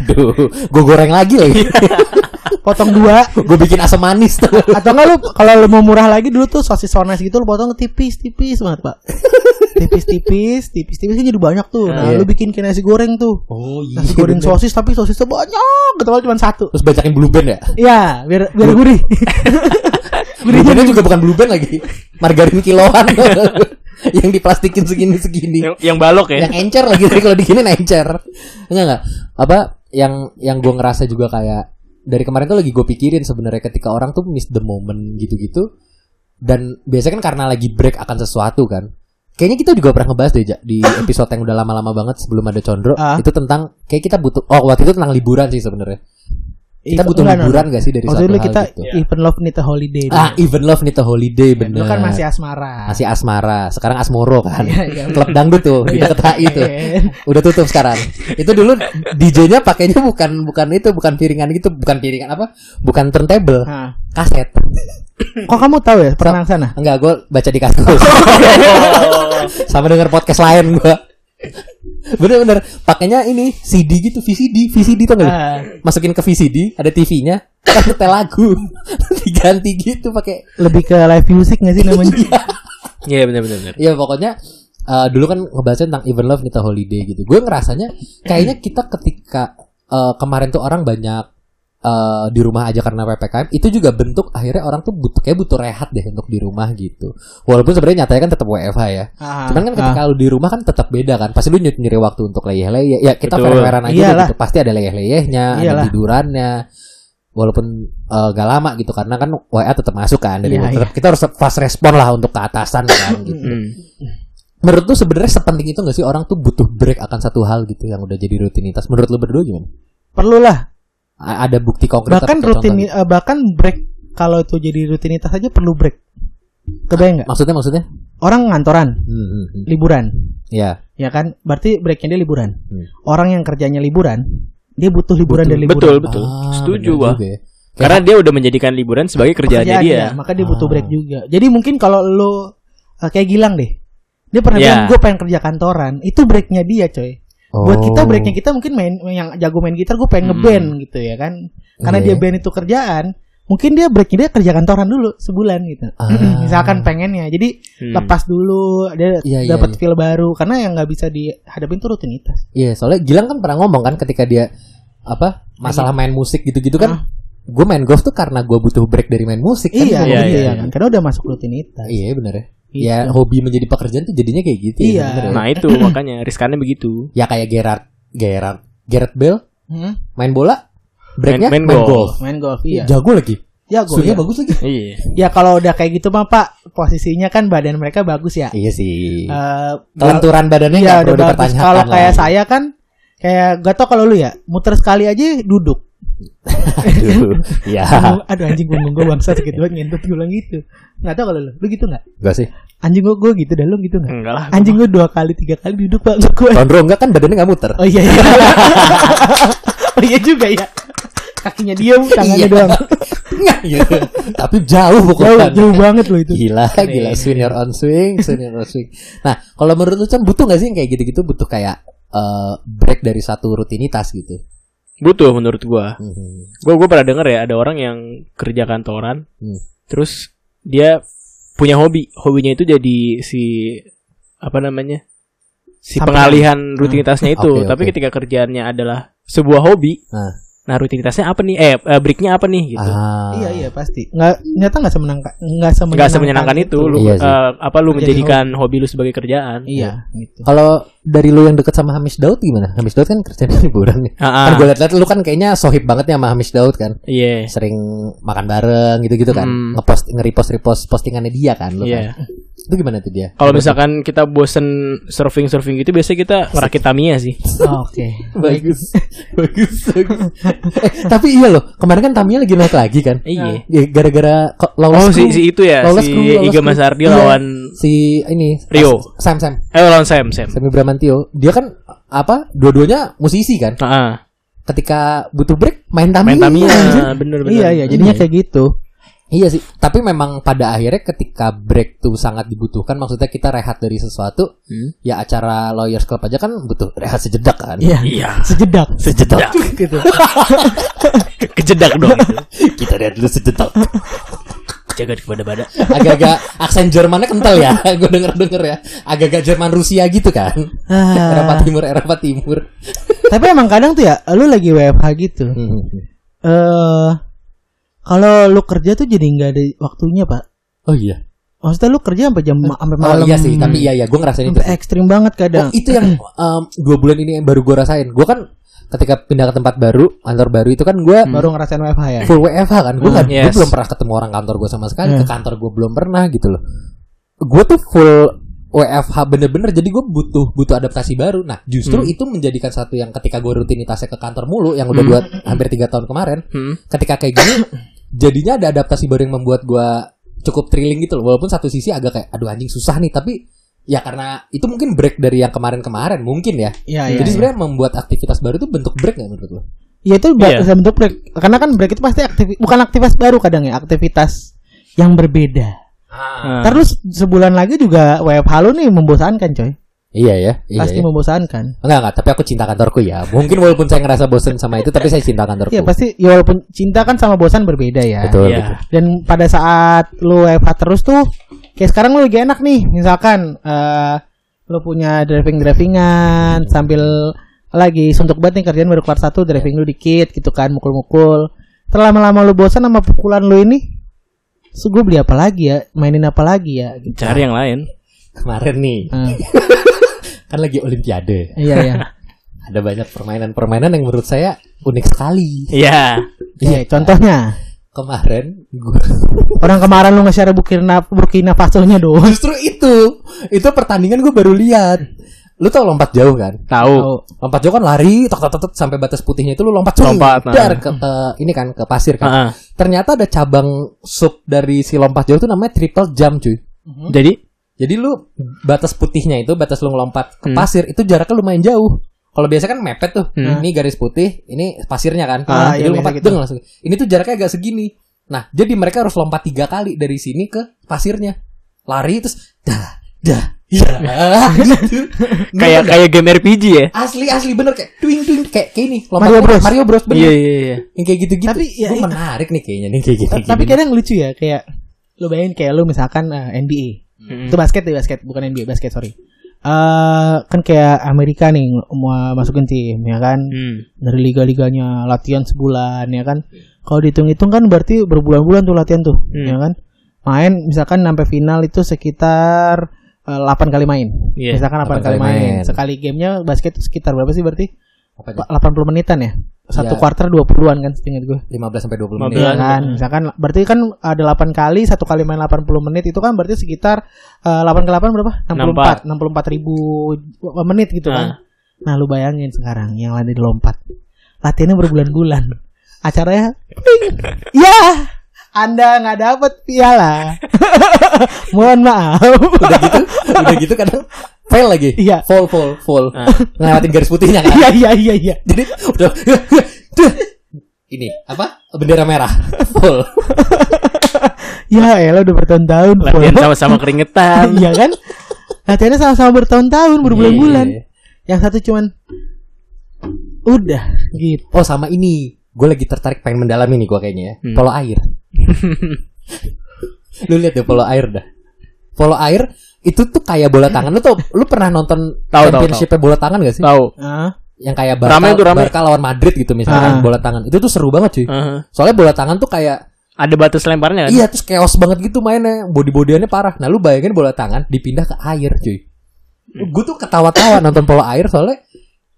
[SPEAKER 3] Aduh, gua goreng lagi lagi.
[SPEAKER 2] potong dua
[SPEAKER 3] gua bikin asam manis tuh.
[SPEAKER 2] atau enggak lu kalau lu mau murah lagi dulu tuh sosis sonas gitu lu potong tipis-tipis banget pak tipis-tipis tipis-tipis kan jadi banyak tuh nah
[SPEAKER 3] Iya.
[SPEAKER 2] lu bikin kayak nasi goreng tuh
[SPEAKER 3] Oh iya.
[SPEAKER 2] nasi goreng
[SPEAKER 3] bener.
[SPEAKER 2] sosis tapi sosisnya banyak ketemuan cuma satu
[SPEAKER 3] Terus bacain blue band ya?
[SPEAKER 2] Iya, biar biar gurih
[SPEAKER 3] Blue bandnya juga bukan blue band lagi. Margarin kiloan. yang diplastikin segini-segini.
[SPEAKER 1] yang, yang balok ya.
[SPEAKER 3] yang encer lagi tadi kalau digini encer enggak enggak apa yang yang gue ngerasa juga kayak dari kemarin tuh lagi gue pikirin sebenarnya ketika orang tuh miss the moment gitu-gitu dan biasanya kan karena lagi break akan sesuatu kan kayaknya kita juga pernah ngebahas deh Ja, di episode yang udah lama-lama banget sebelum ada Condro
[SPEAKER 2] Ah.
[SPEAKER 3] itu tentang kayak kita butuh oh waktu itu tentang liburan sih sebenarnya kita butuh
[SPEAKER 2] Enggak,
[SPEAKER 3] liburan
[SPEAKER 2] enggak.
[SPEAKER 3] gak sih dari
[SPEAKER 2] Waktu
[SPEAKER 3] suatu
[SPEAKER 2] dulu
[SPEAKER 3] hal
[SPEAKER 2] kita
[SPEAKER 3] gitu
[SPEAKER 2] even love need a holiday.
[SPEAKER 3] ah even love need a holiday
[SPEAKER 2] Ya, dulu
[SPEAKER 3] bener
[SPEAKER 2] kan masih asmara.
[SPEAKER 3] masih asmara sekarang asmoro kan
[SPEAKER 2] Iya, iya.
[SPEAKER 3] klub dangdut tuh di deket HI tuh
[SPEAKER 2] Iya.
[SPEAKER 3] udah tutup sekarang itu dulu DJ-nya pakainya bukan bukan itu bukan piringan gitu bukan piringan apa bukan turntable
[SPEAKER 2] Nah,
[SPEAKER 3] kaset
[SPEAKER 2] kok kamu tahu ya pernah ke sana?
[SPEAKER 3] enggak gue baca di kaskus sama denger podcast lain gue bener-bener pakainya ini CD gitu VCD VCD tuh nggak
[SPEAKER 2] Ah.
[SPEAKER 3] masukin ke VCD ada TV-nya kan nyetel lagu diganti gitu pakai
[SPEAKER 2] Lebih ke live music gak sih namanya?
[SPEAKER 1] Iya benar benar benar.
[SPEAKER 3] ya pokoknya eh, dulu kan ngebahasnya tentang Even Love Nita Holiday gitu. Gue ngerasanya kayaknya kita ketika eh, kemarin tuh orang banyak eh, di rumah aja karena PPKM itu juga bentuk akhirnya orang tuh butuh kayak butuh rehat deh untuk di rumah gitu. Walaupun sebenarnya nyatanya kan tetap WFH ya.
[SPEAKER 2] Ah,
[SPEAKER 3] Cuman kan ketika lu di rumah kan tetap beda kan. Pasti lu nyet- nyari waktu untuk leyeh-leyeh. Ya kita
[SPEAKER 1] Betul.
[SPEAKER 3] fair-fairan aja deh
[SPEAKER 2] Iyalah.
[SPEAKER 3] gitu. Pasti ada leyeh-leyehnya, ada
[SPEAKER 2] Iyalah.
[SPEAKER 3] tidurannya. Walaupun eh, gak lama gitu karena kan WA tetap masuk kan dari
[SPEAKER 2] Iya, iya.
[SPEAKER 3] lu. Tetap- kita harus fast respon lah untuk ke atasan kan gitu.
[SPEAKER 1] Hmm.
[SPEAKER 3] Menurut lu sebenarnya sepenting itu gak sih orang tuh butuh break akan satu hal gitu yang udah jadi rutinitas. Menurut lu berdua gimana?
[SPEAKER 2] perlulah
[SPEAKER 3] A- ada bukti konkret
[SPEAKER 2] bahkan
[SPEAKER 3] atau contoh
[SPEAKER 2] rutin
[SPEAKER 3] gitu?
[SPEAKER 2] eh, bahkan break kalau itu jadi rutinitas aja perlu break kebayang nggak
[SPEAKER 3] Maksudnya maksudnya?
[SPEAKER 2] orang ngantoran
[SPEAKER 3] Hmm, hmm, hmm.
[SPEAKER 2] liburan
[SPEAKER 3] Ya.
[SPEAKER 2] ya kan berarti breaknya dia liburan
[SPEAKER 3] Hmm.
[SPEAKER 2] orang yang kerjanya liburan dia butuh liburan dan
[SPEAKER 3] Butuh.
[SPEAKER 2] liburan
[SPEAKER 1] Betul, betul.
[SPEAKER 3] Ah,
[SPEAKER 1] Setuju
[SPEAKER 3] bener
[SPEAKER 1] gua.
[SPEAKER 3] juga ya.
[SPEAKER 1] Karena dia udah menjadikan liburan sebagai kerjaannya
[SPEAKER 2] Kerjaan
[SPEAKER 1] dia.
[SPEAKER 2] dia, ya, maka dia butuh
[SPEAKER 3] Iya, Ah.
[SPEAKER 2] break juga jadi mungkin kalau lo eh, kayak Gilang deh dia pernah
[SPEAKER 3] Iya.
[SPEAKER 1] Ya.
[SPEAKER 2] bilang gue pengen kerja kantoran itu breaknya dia coy buat kita
[SPEAKER 3] Oh.
[SPEAKER 2] breaknya gitu. kita mungkin main yang jago main gitar gue pengen
[SPEAKER 1] Hmm.
[SPEAKER 2] ngeband gitu ya kan karena
[SPEAKER 3] Iya.
[SPEAKER 2] dia band itu kerjaan mungkin dia breaknya dia kerja kantoran dulu sebulan gitu
[SPEAKER 3] Ah.
[SPEAKER 2] misalkan pengennya jadi
[SPEAKER 1] Hmm.
[SPEAKER 2] lepas dulu dia
[SPEAKER 3] Iya, iya,
[SPEAKER 2] dapat
[SPEAKER 3] iya.
[SPEAKER 2] feel baru karena yang nggak bisa dihadapin tuh rutinitas
[SPEAKER 3] Iya, soalnya Gilang kan pernah ngomong kan ketika dia apa masalah main musik gitu-gitu kan. Gue main golf tuh karena gue butuh break dari main musik kan.
[SPEAKER 2] Hmm. iya
[SPEAKER 3] Ngomong
[SPEAKER 1] iya,
[SPEAKER 2] gitu
[SPEAKER 3] gitu
[SPEAKER 2] ya
[SPEAKER 1] iya.
[SPEAKER 2] kan karena udah masuk rutinitas
[SPEAKER 3] Iya bener ya.
[SPEAKER 2] Gitu.
[SPEAKER 3] Ya hobi menjadi pekerjaan tuh jadinya kayak gitu.
[SPEAKER 2] Iya.
[SPEAKER 3] Ya, bener ya.
[SPEAKER 1] Nah itu makanya riskannya begitu.
[SPEAKER 3] Ya kayak Gerard, Gerard, Gerard Bell
[SPEAKER 2] Hmm?
[SPEAKER 3] main bola, breaknya main,
[SPEAKER 1] Main- main
[SPEAKER 3] golf.
[SPEAKER 1] golf.
[SPEAKER 2] main golf iya
[SPEAKER 3] Jago lagi.
[SPEAKER 2] jago
[SPEAKER 3] Swingnya
[SPEAKER 2] ya.
[SPEAKER 3] bagus lagi.
[SPEAKER 1] Iya.
[SPEAKER 2] ya kalau udah kayak gitu mah pak posisinya kan badan mereka bagus ya
[SPEAKER 3] iya sih.
[SPEAKER 2] Eh,
[SPEAKER 3] Kelenturan badannya nggak
[SPEAKER 2] iya
[SPEAKER 3] perlu
[SPEAKER 2] udah bagus
[SPEAKER 3] dipertanyakan.
[SPEAKER 2] kalau
[SPEAKER 3] lah.
[SPEAKER 2] kayak saya kan kayak gak tau kalau lu ya muter sekali aja duduk
[SPEAKER 3] Aduh, Iya.
[SPEAKER 2] aduh anjing punggung gue bangsa sakit banget ngentut gue bilang gitu nggak tau kalau lu lu gitu nggak
[SPEAKER 3] Enggak sih.
[SPEAKER 2] anjing gue gue gitu dah lu gitu nggak
[SPEAKER 1] Enggak lah.
[SPEAKER 2] anjing gue dua kali tiga kali duduk pak gue
[SPEAKER 3] Tondro enggak kan badannya enggak muter.
[SPEAKER 2] Oh iya iya. oh iya juga ya. Kakinya diem, tangannya
[SPEAKER 3] Iya. kan.
[SPEAKER 2] doang.
[SPEAKER 3] Gitu. Tapi jauh
[SPEAKER 2] Jauh, Iya.
[SPEAKER 3] pokoknya.
[SPEAKER 2] jauh banget loh itu.
[SPEAKER 3] Gila, gila swing your own swing, swing your own swing. Nah, kalau menurut lu Chan butuh gak sih yang kayak gitu-gitu butuh kayak eh, break dari satu rutinitas gitu.
[SPEAKER 1] Butuh menurut gua.
[SPEAKER 2] Hmm.
[SPEAKER 3] Mhm.
[SPEAKER 1] Gua gua pernah denger ya ada orang yang kerja kantoran,
[SPEAKER 3] Hmm.
[SPEAKER 1] terus dia punya hobi. Hobinya itu jadi si apa namanya? Si
[SPEAKER 2] Sampingan.
[SPEAKER 1] pengalihan rutinitasnya itu.
[SPEAKER 3] Hmm. Oke,
[SPEAKER 1] Tapi
[SPEAKER 3] oke.
[SPEAKER 1] ketika kerjaannya adalah sebuah hobi,
[SPEAKER 3] Nah.
[SPEAKER 1] nah rutinitasnya apa nih? Eh, eh, breaknya apa nih gitu.
[SPEAKER 3] Ah.
[SPEAKER 2] Iya iya pasti. Nggak ternyata nggak semenangkan nggak semenyenangkan,
[SPEAKER 1] Gak semenyenangkan itu, lu
[SPEAKER 3] Iya sih.
[SPEAKER 1] eh, apa lu
[SPEAKER 2] Menjadi
[SPEAKER 1] menjadikan hobi. lu sebagai kerjaan.
[SPEAKER 2] Iya gitu.
[SPEAKER 3] Kalau dari lu yang deket sama Hamis Daud gimana? Hamis Daud kan kerjanya liburan nih. Kan
[SPEAKER 1] Ah, ah,
[SPEAKER 3] gue liat-liat lu kan kayaknya sohib banget nih sama Hamis Daud kan.
[SPEAKER 1] Iya.
[SPEAKER 3] Sering makan bareng gitu-gitu kan.
[SPEAKER 1] Hmm.
[SPEAKER 3] Ngepost nge-repost repost postingannya dia kan lu
[SPEAKER 1] Iya.
[SPEAKER 3] kan. Itu gimana tuh dia?
[SPEAKER 1] Kalau misalkan kita bosen surfing-surfing gitu biasanya kita merakit Tamiya sih.
[SPEAKER 2] Oh, Oke.
[SPEAKER 3] bagus. bagus, bagus. Eh, tapi iya loh, kemarin kan Tamiya lagi naik lagi kan.
[SPEAKER 1] Iya.
[SPEAKER 3] Ya, gara-gara ko- lolos
[SPEAKER 1] Oh
[SPEAKER 3] crew.
[SPEAKER 1] si, si itu ya
[SPEAKER 3] Lolos
[SPEAKER 1] si
[SPEAKER 3] crew, lolos
[SPEAKER 1] Iga
[SPEAKER 3] crew.
[SPEAKER 1] Mas Ardi
[SPEAKER 3] Iya.
[SPEAKER 1] lawan
[SPEAKER 3] si ini
[SPEAKER 1] Rio.
[SPEAKER 3] Sam Sam
[SPEAKER 1] eh lawan Sam Sam.
[SPEAKER 3] Sami Bramantio dia kan apa dua-duanya musisi kan
[SPEAKER 1] Heeh.
[SPEAKER 3] ketika butuh break main Tamiya
[SPEAKER 1] Main Tamiya bener bener.
[SPEAKER 2] Iya iya jadinya
[SPEAKER 3] Iya.
[SPEAKER 2] kayak gitu.
[SPEAKER 3] iya sih tapi memang pada akhirnya ketika break tuh sangat dibutuhkan maksudnya kita rehat dari sesuatu
[SPEAKER 1] Hmm.
[SPEAKER 3] ya acara lawyers club aja kan butuh rehat sejedak kan
[SPEAKER 2] Iya.
[SPEAKER 1] Iya.
[SPEAKER 2] Sejedak.
[SPEAKER 3] sejedak
[SPEAKER 2] gitu.
[SPEAKER 1] Ke- Kejedak dong. itu.
[SPEAKER 3] kita lihat dulu sejedak
[SPEAKER 1] Jaga kepada pada.
[SPEAKER 3] agak-agak aksen Jermannya kental ya gue denger-denger ya agak-agak Jerman Rusia gitu kan Eropa
[SPEAKER 2] Ah,
[SPEAKER 3] Timur Eropa Timur
[SPEAKER 2] tapi emang kadang tuh ya lu lagi WFH gitu. Eh kalau lu kerja tuh jadi nggak ada waktunya, Pak.
[SPEAKER 3] oh iya
[SPEAKER 2] Maksudnya lu kerja sampai jam sampai malam.
[SPEAKER 3] oh iya sih tapi iya iya gue ngerasain itu
[SPEAKER 2] sampai ekstrim banget kadang.
[SPEAKER 3] Oh, itu yang um, dua bulan ini yang baru gue rasain. Gue kan ketika pindah ke tempat baru, kantor baru itu kan gue
[SPEAKER 2] Baru ngerasain WFH ya.
[SPEAKER 3] full WFH kan. Gue
[SPEAKER 1] Hmm, yes.
[SPEAKER 3] belum pernah ketemu orang kantor gue sama sekali. Ke
[SPEAKER 2] Hmm.
[SPEAKER 3] kantor gue belum pernah gitu loh. Gue tuh full WFH bener-bener. Jadi gue butuh butuh adaptasi baru. Nah justru
[SPEAKER 2] Hmm.
[SPEAKER 3] itu menjadikan satu yang ketika gue rutinitasnya ke kantor mulu, yang udah
[SPEAKER 1] Hmm.
[SPEAKER 3] dua hampir tiga tahun kemarin.
[SPEAKER 1] Hmm.
[SPEAKER 3] Ketika kayak gini, jadinya ada adaptasi baru yang membuat gue cukup thrilling gitu loh. Walaupun satu sisi agak kayak aduh anjing susah nih, tapi ya karena itu mungkin break dari yang kemarin-kemarin mungkin ya.
[SPEAKER 2] Iya, iya.
[SPEAKER 3] Jadi
[SPEAKER 2] iya.
[SPEAKER 3] sebenarnya membuat aktivitas baru itu bentuk break nggak menurut lo?
[SPEAKER 2] Ya itu ba-
[SPEAKER 1] Iya.
[SPEAKER 2] dalam bentuk break. Karena kan break itu pasti aktivi- bukan aktivitas baru kadang ya, aktivitas yang berbeda.
[SPEAKER 1] Ah.
[SPEAKER 2] Terus sebulan lagi juga WFH lu nih membosankan coy.
[SPEAKER 3] Iya ya, iya.
[SPEAKER 2] Pasti
[SPEAKER 3] ya.
[SPEAKER 2] membosankan.
[SPEAKER 3] Enggak enggak, tapi aku cinta kantorku ya. Mungkin walaupun saya ngerasa bosen sama itu, tapi saya cinta kantorku.
[SPEAKER 2] Iya pasti ya walaupun cinta kan sama bosan berbeda ya.
[SPEAKER 3] Betul.
[SPEAKER 1] Iya.
[SPEAKER 3] betul.
[SPEAKER 2] Dan pada saat lu WFH terus tuh kayak sekarang lu lagi enak nih, misalkan eh lo punya driving drivingan sambil lagi suntuk banget nih kerjaan baru kelar satu driving lu dikit gitu kan mukul-mukul terlama-lama lu bosan sama pukulan lu ini so, gue beli apa lagi ya mainin apa lagi ya gitu.
[SPEAKER 1] Cari yang lain.
[SPEAKER 3] Kemarin nih
[SPEAKER 2] Hmm,
[SPEAKER 3] kan lagi Olimpiade,
[SPEAKER 2] iya iya
[SPEAKER 3] ada banyak permainan-permainan yang menurut saya unik sekali.
[SPEAKER 1] Iya.
[SPEAKER 2] Iya, contohnya
[SPEAKER 3] Kemarin gue
[SPEAKER 2] orang kemarin lu nge-share Burkina Burkina Faso-nya doang.
[SPEAKER 3] justru itu itu pertandingan gue baru lihat. Lu tau lompat jauh kan?
[SPEAKER 1] Tahu.
[SPEAKER 2] Oh,
[SPEAKER 3] Lompat jauh kan lari, tok tok tok, tok, sampai batas putihnya itu lu lompat cuy,
[SPEAKER 1] Lompat, nah.
[SPEAKER 3] dar ke, ke ini kan ke pasir kan.
[SPEAKER 1] Heeh.
[SPEAKER 3] Ternyata ada cabang sub dari si lompat jauh itu namanya triple jump cuy.
[SPEAKER 1] Jadi
[SPEAKER 3] Jadi lu batas putihnya itu batas lu ngelompat ke
[SPEAKER 1] Hmm.
[SPEAKER 3] pasir itu jaraknya lumayan jauh. Kalau biasa kan mepet tuh.
[SPEAKER 1] Hmm.
[SPEAKER 3] Ini garis putih, ini pasirnya kan.
[SPEAKER 2] Ah,
[SPEAKER 3] jadi
[SPEAKER 2] iya, biasa
[SPEAKER 3] lu lompat
[SPEAKER 2] gitu.
[SPEAKER 3] deng langsung. Ini tuh jaraknya agak segini. Nah, jadi mereka harus lompat tiga kali dari sini ke pasirnya. Lari terus dah dah ya gitu. Bener
[SPEAKER 1] kayak
[SPEAKER 3] nggak?
[SPEAKER 1] kayak game RPG ya.
[SPEAKER 3] asli asli bener kayak twing twing kayak kayak ini lompat
[SPEAKER 2] Mario Bros.
[SPEAKER 3] Mario Bros bener.
[SPEAKER 1] Iya iya iya.
[SPEAKER 3] Yang kayak gitu-gitu.
[SPEAKER 2] Tapi, ya,
[SPEAKER 3] Gua
[SPEAKER 2] iya.
[SPEAKER 3] menarik nih kayaknya nih kayak gitu.
[SPEAKER 2] tapi kadang lucu ya kayak lu bayangin kayak lu misalkan eh, NBA.
[SPEAKER 1] Mm.
[SPEAKER 2] Itu basket deh basket, bukan NBA, basket sorry. Eh kan kayak Amerika nih mau masukin tim ya kan
[SPEAKER 1] Hmm.
[SPEAKER 2] dari liga-liganya latihan sebulan ya kan kalau dihitung-hitung kan berarti berbulan-bulan tuh latihan tuh
[SPEAKER 1] Hmm.
[SPEAKER 2] ya kan main misalkan sampai final itu sekitar eh, 8 kali main
[SPEAKER 1] Iya,
[SPEAKER 2] misalkan 8,
[SPEAKER 3] 8
[SPEAKER 2] kali
[SPEAKER 3] kali
[SPEAKER 2] main.
[SPEAKER 3] main.
[SPEAKER 2] sekali gamenya basket itu sekitar berapa sih berarti
[SPEAKER 3] Apa aja?
[SPEAKER 2] Pa- 80 menitan ya satu
[SPEAKER 3] Iya.
[SPEAKER 2] quarter 20-an kan seingat gue
[SPEAKER 3] 15 sampai 20
[SPEAKER 1] 15.
[SPEAKER 3] menit.
[SPEAKER 2] Iya kan misalkan berarti kan ada 8 kali satu kali main 80 menit itu kan berarti sekitar eh, 8 ke 8 berapa 64 64 ribu menit gitu kan nah lu bayangin sekarang yang lari di lompat latihannya berbulan-bulan acaranya ping ya anda nggak dapet piala mohon maaf
[SPEAKER 3] udah gitu udah gitu kadang fail lagi
[SPEAKER 2] Iya.
[SPEAKER 3] fall fall fall
[SPEAKER 1] Ah.
[SPEAKER 3] ngelewatin garis putihnya kan
[SPEAKER 2] iya iya iya iya
[SPEAKER 3] jadi udah iya. ini apa bendera merah fall
[SPEAKER 2] ya elah udah bertahun-tahun
[SPEAKER 1] Latihan sama-sama keringetan.
[SPEAKER 2] iya kan latihannya sama-sama bertahun-tahun berbulan-bulan
[SPEAKER 3] Iya.
[SPEAKER 2] yang satu cuman udah gitu
[SPEAKER 3] oh sama ini gue lagi tertarik pengen mendalami nih gue kayaknya ya
[SPEAKER 1] Hmm.
[SPEAKER 3] polo air lu lihat deh polo air dah polo air itu tuh kayak bola tangan lu tuh lu pernah nonton
[SPEAKER 1] Tahu, tahu,
[SPEAKER 3] championshipnya bola tangan gak sih
[SPEAKER 1] Tahu.
[SPEAKER 2] ah
[SPEAKER 3] yang kayak Barca,
[SPEAKER 1] Rame tuh, rame. Ah.
[SPEAKER 3] Barca lawan Madrid gitu
[SPEAKER 2] Ah.
[SPEAKER 3] misalkan bola tangan itu tuh seru banget cuy
[SPEAKER 1] Heeh.
[SPEAKER 3] soalnya bola tangan tuh kayak
[SPEAKER 1] Ada batas lemparnya kan?
[SPEAKER 3] Iya terus chaos banget gitu mainnya Body-bodiannya parah Nah lu bayangin bola tangan Dipindah ke air cuy
[SPEAKER 1] Hmm.
[SPEAKER 3] Gue tuh ketawa-tawa nonton bola air Soalnya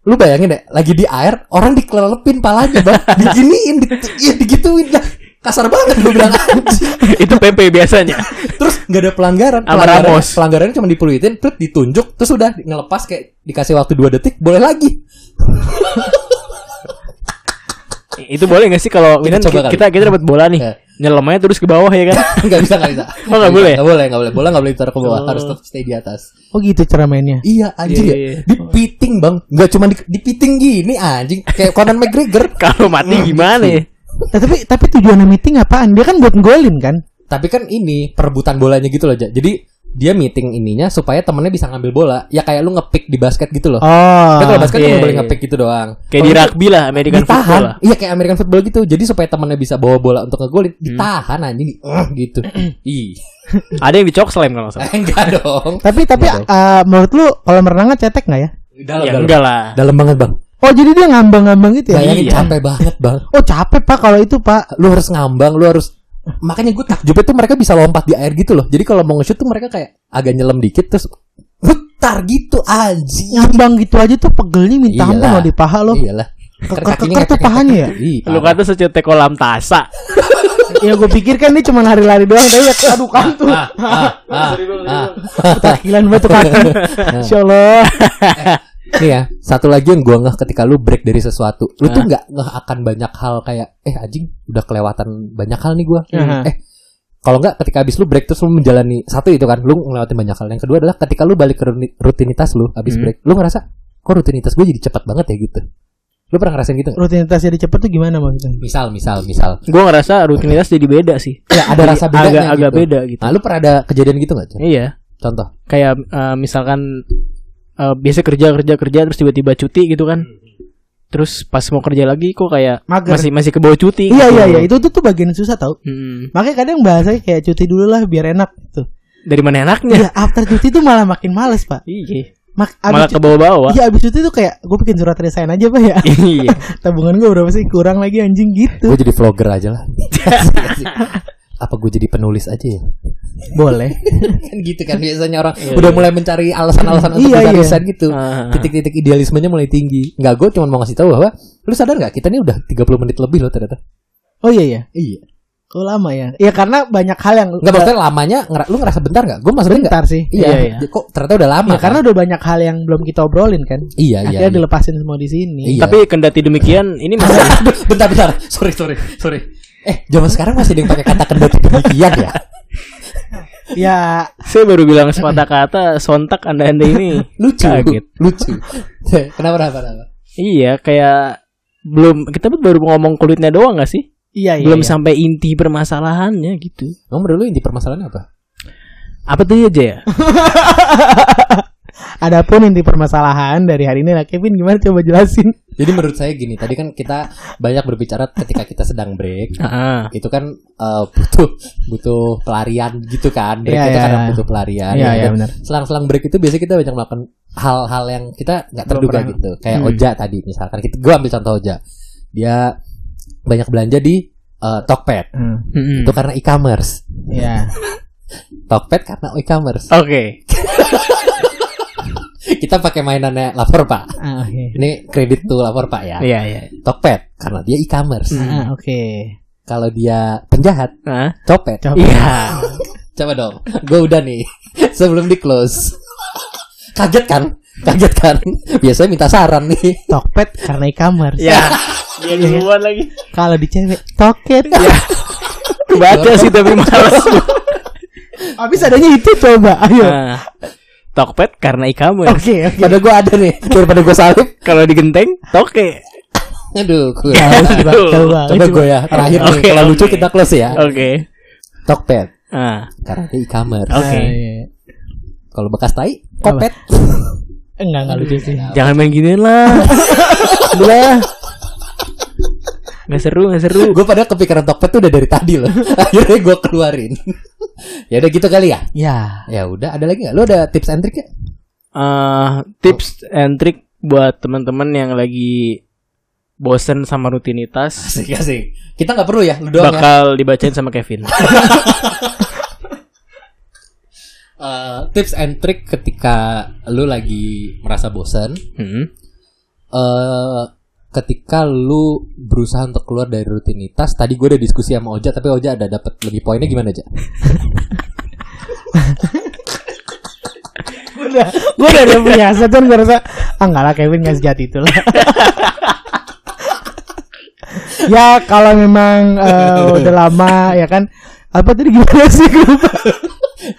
[SPEAKER 3] Lu bayangin deh Lagi di air Orang dikelepin palanya bang Diginiin di, Iya digituin lah Kasar banget gue bilang anjing.
[SPEAKER 1] Itu PP biasanya.
[SPEAKER 3] Terus gak ada pelanggaran
[SPEAKER 1] Sama
[SPEAKER 3] Pelanggaran-
[SPEAKER 1] Ramos.
[SPEAKER 3] Pelanggarannya cuma dipeluitin Terus ditunjuk Terus udah ngelepas kayak Dikasih waktu 2 detik Boleh lagi
[SPEAKER 1] Itu boleh gak sih kalau Winan,
[SPEAKER 3] Kita coba
[SPEAKER 1] kita
[SPEAKER 3] kali.
[SPEAKER 1] kita, dapat bola nih.
[SPEAKER 3] Iya.
[SPEAKER 1] Nyelamnya terus ke bawah ya kan?
[SPEAKER 3] Gak bisa gak bisa
[SPEAKER 1] Oh, nggak
[SPEAKER 3] Nggak bisa,
[SPEAKER 1] boleh? Oh.
[SPEAKER 3] Nggak boleh nggak boleh Bola gak boleh ditaruh ke bawah Harus tetap stay di atas
[SPEAKER 2] oh gitu cara mainnya
[SPEAKER 3] Iya anjing
[SPEAKER 1] Iya,
[SPEAKER 3] ya.
[SPEAKER 1] iya, iya.
[SPEAKER 3] Dipiting bang Gak cuma di, dipiting gini anjing Kayak Conan McGregor
[SPEAKER 1] kalau mati gimana ya?
[SPEAKER 2] Nah, tapi tapi tujuannya meeting apaan dia kan buat golin kan
[SPEAKER 3] Tapi kan ini Perebutan bolanya gitu loh Ja. Jadi Dia meeting ininya Supaya temennya bisa ngambil bola Ya kayak lu ngepick di basket gitu loh
[SPEAKER 2] oh
[SPEAKER 3] Kan kalau basket
[SPEAKER 1] iya,
[SPEAKER 3] cuma boleh
[SPEAKER 1] iya.
[SPEAKER 3] ngepick gitu doang
[SPEAKER 1] Kayak di
[SPEAKER 3] Kalau
[SPEAKER 1] rugby lah, American football
[SPEAKER 3] ditahan
[SPEAKER 1] lah. Hmm.
[SPEAKER 3] iya kayak American football gitu jadi supaya temennya bisa bawa bola untuk ngegolin ditahan anjing di- eh, gitu ih
[SPEAKER 1] Ada yang di chok slam kalau nggak salah.
[SPEAKER 3] enggak dong
[SPEAKER 2] tapi tapi
[SPEAKER 3] Iya,
[SPEAKER 2] eh, menurut lu kalau merenangnya cetek nggak ya
[SPEAKER 3] dalam
[SPEAKER 1] Ya
[SPEAKER 3] dalam
[SPEAKER 1] enggak lah.
[SPEAKER 3] dalam banget bang
[SPEAKER 2] oh jadi dia ngambang-ngambang gitu ya
[SPEAKER 3] bayangin
[SPEAKER 1] Iya.
[SPEAKER 3] capek banget bang
[SPEAKER 2] oh capek pak kalau itu pak
[SPEAKER 3] lu harus ngambang, lu harus makanya gue takjubnya tuh mereka bisa lompat di air gitu loh. Jadi kalau mau nge-shoot tuh mereka kayak agak nyelam dikit terus putar gitu anjing.
[SPEAKER 2] ngambang gitu aja tuh pegelnya minta
[SPEAKER 3] Iyalah. Iya.
[SPEAKER 2] ampun loh di paha lo
[SPEAKER 3] Iyalah.
[SPEAKER 2] Keker-
[SPEAKER 3] Kakinya
[SPEAKER 2] keker tuh
[SPEAKER 3] ngepek-ngepek
[SPEAKER 2] pahanya ya?
[SPEAKER 3] gitu. Ih,
[SPEAKER 1] Lu kan-
[SPEAKER 3] parah.
[SPEAKER 1] kata secetek kolam tasa.
[SPEAKER 2] ya gue pikir kan dia cuma lari-lari doang tapi ya aduh kan tuh
[SPEAKER 3] Ah, ah, ah, ah.
[SPEAKER 2] takilan banget tuh kaki Insya Allah
[SPEAKER 3] Nih ya, satu lagi yang gue ngeh ketika lu break dari sesuatu. Lu tuh nggak ngeh akan banyak hal kayak eh anjing udah kelewatan banyak hal nih gua.
[SPEAKER 2] Aha.
[SPEAKER 3] Eh kalau nggak ketika abis lu break terus lu menjalani satu itu kan lu ngelewatin banyak hal. Yang kedua adalah ketika lu balik ke runi- rutinitas lu abis
[SPEAKER 1] Hmm.
[SPEAKER 3] break, lu ngerasa kok rutinitas gue jadi cepat banget ya gitu. Lu pernah ngerasain gitu? nggak?
[SPEAKER 2] rutinitas jadi cepet tuh gimana maksudnya
[SPEAKER 3] Misal, misal, misal.
[SPEAKER 1] Gue ngerasa rutinitas jadi beda sih.
[SPEAKER 3] Ya, ada
[SPEAKER 1] Jadi
[SPEAKER 3] rasa bedanya
[SPEAKER 1] agak- agak
[SPEAKER 3] gitu.
[SPEAKER 1] beda gitu.
[SPEAKER 3] Nah, lu pernah ada kejadian gitu nggak? Chan?
[SPEAKER 1] Iya.
[SPEAKER 3] Contoh.
[SPEAKER 1] kayak eh, misalkan eh, biasa kerja kerja kerja terus tiba-tiba cuti gitu kan terus pas mau kerja lagi kok kayak
[SPEAKER 2] Mager.
[SPEAKER 1] masih masih ke bawah cuti
[SPEAKER 2] iya
[SPEAKER 1] gitu.
[SPEAKER 2] iya iya itu tuh tuh bagian susah tau
[SPEAKER 1] Hmm,
[SPEAKER 2] Makanya kadang bahasanya kayak cuti dulu lah biar enak gitu.
[SPEAKER 1] dari mana enaknya
[SPEAKER 2] Ya after cuti tuh malah makin males pak.
[SPEAKER 1] iya
[SPEAKER 2] Mak-
[SPEAKER 1] malah
[SPEAKER 2] abis
[SPEAKER 1] ke bawah-bawah.
[SPEAKER 2] Iya abis itu tuh kayak gue bikin surat resign aja pak ya.
[SPEAKER 1] Iya.
[SPEAKER 2] Tabungan gue berapa sih kurang lagi anjing gitu.
[SPEAKER 3] Gue jadi vlogger aja lah. Apa gue jadi penulis aja ya?
[SPEAKER 2] Boleh.
[SPEAKER 3] kan gitu kan biasanya orang
[SPEAKER 1] Iya,
[SPEAKER 3] udah
[SPEAKER 1] iya.
[SPEAKER 3] mulai mencari alasan-alasan untuk
[SPEAKER 2] Iya,
[SPEAKER 3] bisa
[SPEAKER 2] iya.
[SPEAKER 3] resign gitu.
[SPEAKER 1] Ah.
[SPEAKER 3] Titik-titik idealismenya mulai tinggi. Enggak, gue cuma mau ngasih tahu bahwa lu sadar nggak kita ini udah 30 menit lebih loh ternyata.
[SPEAKER 2] Oh iya iya.
[SPEAKER 3] Iya.
[SPEAKER 2] Oh lama ya. Iya karena banyak hal yang
[SPEAKER 3] Enggak maksudnya lamanya ngera- lu ngerasa bentar nggak? Gue maksudnya enggak.
[SPEAKER 2] bentar sih.
[SPEAKER 3] Iya,
[SPEAKER 1] Iya, iya.
[SPEAKER 3] Kok ternyata udah lama
[SPEAKER 2] Ya,
[SPEAKER 3] kan?
[SPEAKER 2] karena udah banyak hal yang belum kita obrolin kan.
[SPEAKER 3] Iya, iya.
[SPEAKER 2] Akhirnya
[SPEAKER 3] iya.
[SPEAKER 2] dilepasin semua di sini.
[SPEAKER 3] Iya.
[SPEAKER 1] Tapi kendati demikian ini masih
[SPEAKER 3] bentar bentar. Sorry, sorry, sorry. Eh, zaman sekarang masih ada yang pakai kata kendati demikian ya?
[SPEAKER 2] Ya
[SPEAKER 1] saya baru bilang sepatah kata sontak anda-anda ini
[SPEAKER 3] Lucu,
[SPEAKER 1] Kaget.
[SPEAKER 3] lucu. kenapa, kenapa, kenapa?
[SPEAKER 1] Iya, kayak belum kita baru ngomong kulitnya doang gak sih?
[SPEAKER 2] iya iya.
[SPEAKER 1] belum
[SPEAKER 2] iya.
[SPEAKER 1] sampai inti permasalahannya gitu.
[SPEAKER 3] Ngomong dulu inti permasalahannya apa?
[SPEAKER 1] Apa tuh aja ya?
[SPEAKER 2] Adapun inti permasalahan dari hari ini lah Kevin gimana coba jelasin.
[SPEAKER 3] Jadi menurut saya gini, tadi kan kita banyak berbicara ketika kita sedang break.
[SPEAKER 1] Heeh.
[SPEAKER 3] Itu kan eh, butuh butuh pelarian gitu kan. Break
[SPEAKER 2] Iya,
[SPEAKER 3] itu
[SPEAKER 2] iya,
[SPEAKER 3] karena
[SPEAKER 2] iya.
[SPEAKER 3] butuh pelarian.
[SPEAKER 2] Iya,
[SPEAKER 3] ya
[SPEAKER 2] iya,
[SPEAKER 3] kan?
[SPEAKER 2] benar.
[SPEAKER 3] Selang-selang break itu biasanya kita banyak melakukan hal-hal yang kita nggak
[SPEAKER 2] Belum
[SPEAKER 3] terduga
[SPEAKER 2] pernah.
[SPEAKER 3] gitu. Kayak
[SPEAKER 1] Hmm.
[SPEAKER 3] Oja tadi misalkan. Kita, gua ambil contoh Oja. Dia banyak belanja di eh, Tokped.
[SPEAKER 2] Hmm.
[SPEAKER 1] Mm-mm.
[SPEAKER 3] Itu karena e-commerce.
[SPEAKER 2] Iya.
[SPEAKER 3] Tokped karena e-commerce.
[SPEAKER 1] Oke.
[SPEAKER 3] Kita pakai mainannya lapor pak.
[SPEAKER 2] Ah, Oke.
[SPEAKER 3] Ini kredit tuh lapor pak ya.
[SPEAKER 1] Iya, iya.
[SPEAKER 3] Tokped karena dia e-commerce.
[SPEAKER 1] Hmm.
[SPEAKER 2] Ah, Oke.
[SPEAKER 3] Kalau dia penjahat,
[SPEAKER 1] Hah?
[SPEAKER 3] copet.
[SPEAKER 2] Coba.
[SPEAKER 1] Iya.
[SPEAKER 3] Coba dong, gue udah nih sebelum di close. Kaget kan? Kaget kan? Biasanya minta saran nih.
[SPEAKER 2] Tokpet karena e-commerce.
[SPEAKER 1] Ya. Dia duluan lagi.
[SPEAKER 2] Kalau di cewek toket.
[SPEAKER 1] Ya. Baca sih tapi malas.
[SPEAKER 2] Habis adanya itu coba. Ayo.
[SPEAKER 1] Nah, Tokped karena ya? e-commerce.
[SPEAKER 2] Oke. oke.
[SPEAKER 3] Pada gue ada nih daripada gue salib.
[SPEAKER 1] Kalau digenteng, toke.
[SPEAKER 3] Aduh, gue.
[SPEAKER 2] Tahu sih, Bang.
[SPEAKER 1] Aduh.
[SPEAKER 2] Coba. Nah,
[SPEAKER 3] Coba gue ya terakhir
[SPEAKER 1] Iya.
[SPEAKER 3] nih.
[SPEAKER 1] Nah, Oke,
[SPEAKER 3] Kalau
[SPEAKER 1] oke.
[SPEAKER 3] lucu kita close ya.
[SPEAKER 1] Oke.
[SPEAKER 3] Tokped
[SPEAKER 1] Ah,
[SPEAKER 3] karena dia e-commerce.
[SPEAKER 1] Oke.
[SPEAKER 2] Ah, iya, iya.
[SPEAKER 3] Kalau bekas tai, kopet.
[SPEAKER 2] Enggak enggak Eh, lucu sih.
[SPEAKER 1] jangan main ginian lah. Udah lah. Nggak seru, nggak seru.
[SPEAKER 3] gue pada kepikiran Tokped tuh udah dari tadi loh. Akhirnya gue keluarin. ya udah gitu kali ya.
[SPEAKER 1] Iya.
[SPEAKER 2] Ya.
[SPEAKER 3] Ya udah, ada lagi nggak? Lu ada tips and trick ya?
[SPEAKER 1] eh tips and trick buat teman-teman yang lagi bosen sama rutinitas
[SPEAKER 3] Asik asik. Kita nggak perlu ya, lu doang ya.
[SPEAKER 1] bakal dibacain sama Kevin.
[SPEAKER 3] Eh, tips and trick ketika lu lagi merasa bosan,
[SPEAKER 1] Hmm.
[SPEAKER 3] eh ketika lu berusaha untuk keluar dari rutinitas, tadi gue udah diskusi sama Oja, tapi Oja ada dapat lebih poinnya gimana aja?
[SPEAKER 2] Udah. Gue udah ada punya aset dan gue rasa ah enggak lah Kevin nggak sejati itu lah. ya kalau memang eh, udah lama ya kan apa tadi gimana sih gue lupa.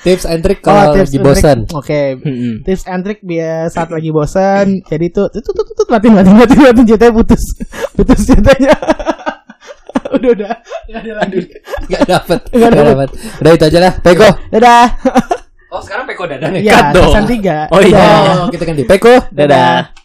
[SPEAKER 3] tips and trick
[SPEAKER 2] Oh,
[SPEAKER 3] kalau
[SPEAKER 2] tips
[SPEAKER 3] lagi
[SPEAKER 2] and
[SPEAKER 3] bosan.
[SPEAKER 2] trick. Oke.
[SPEAKER 1] Hmm.
[SPEAKER 2] Tips and trick biar saat lagi bosan jadi itu tuh tuh tuh tuh latin latin latin latin ceritanya putus putus ceritanya udah udah nggak ada lagi
[SPEAKER 3] Gak dapet,
[SPEAKER 2] Nggak
[SPEAKER 3] gak
[SPEAKER 2] dapet.
[SPEAKER 3] dapet. Udah itu aja lah, Peko.
[SPEAKER 2] dadah
[SPEAKER 3] Oh sekarang Peko dadah
[SPEAKER 2] ya
[SPEAKER 1] dong.
[SPEAKER 2] pesan tiga
[SPEAKER 1] Oh, iya.
[SPEAKER 2] Dadah.
[SPEAKER 3] Oh kita ganti. Peko.
[SPEAKER 1] Dadah.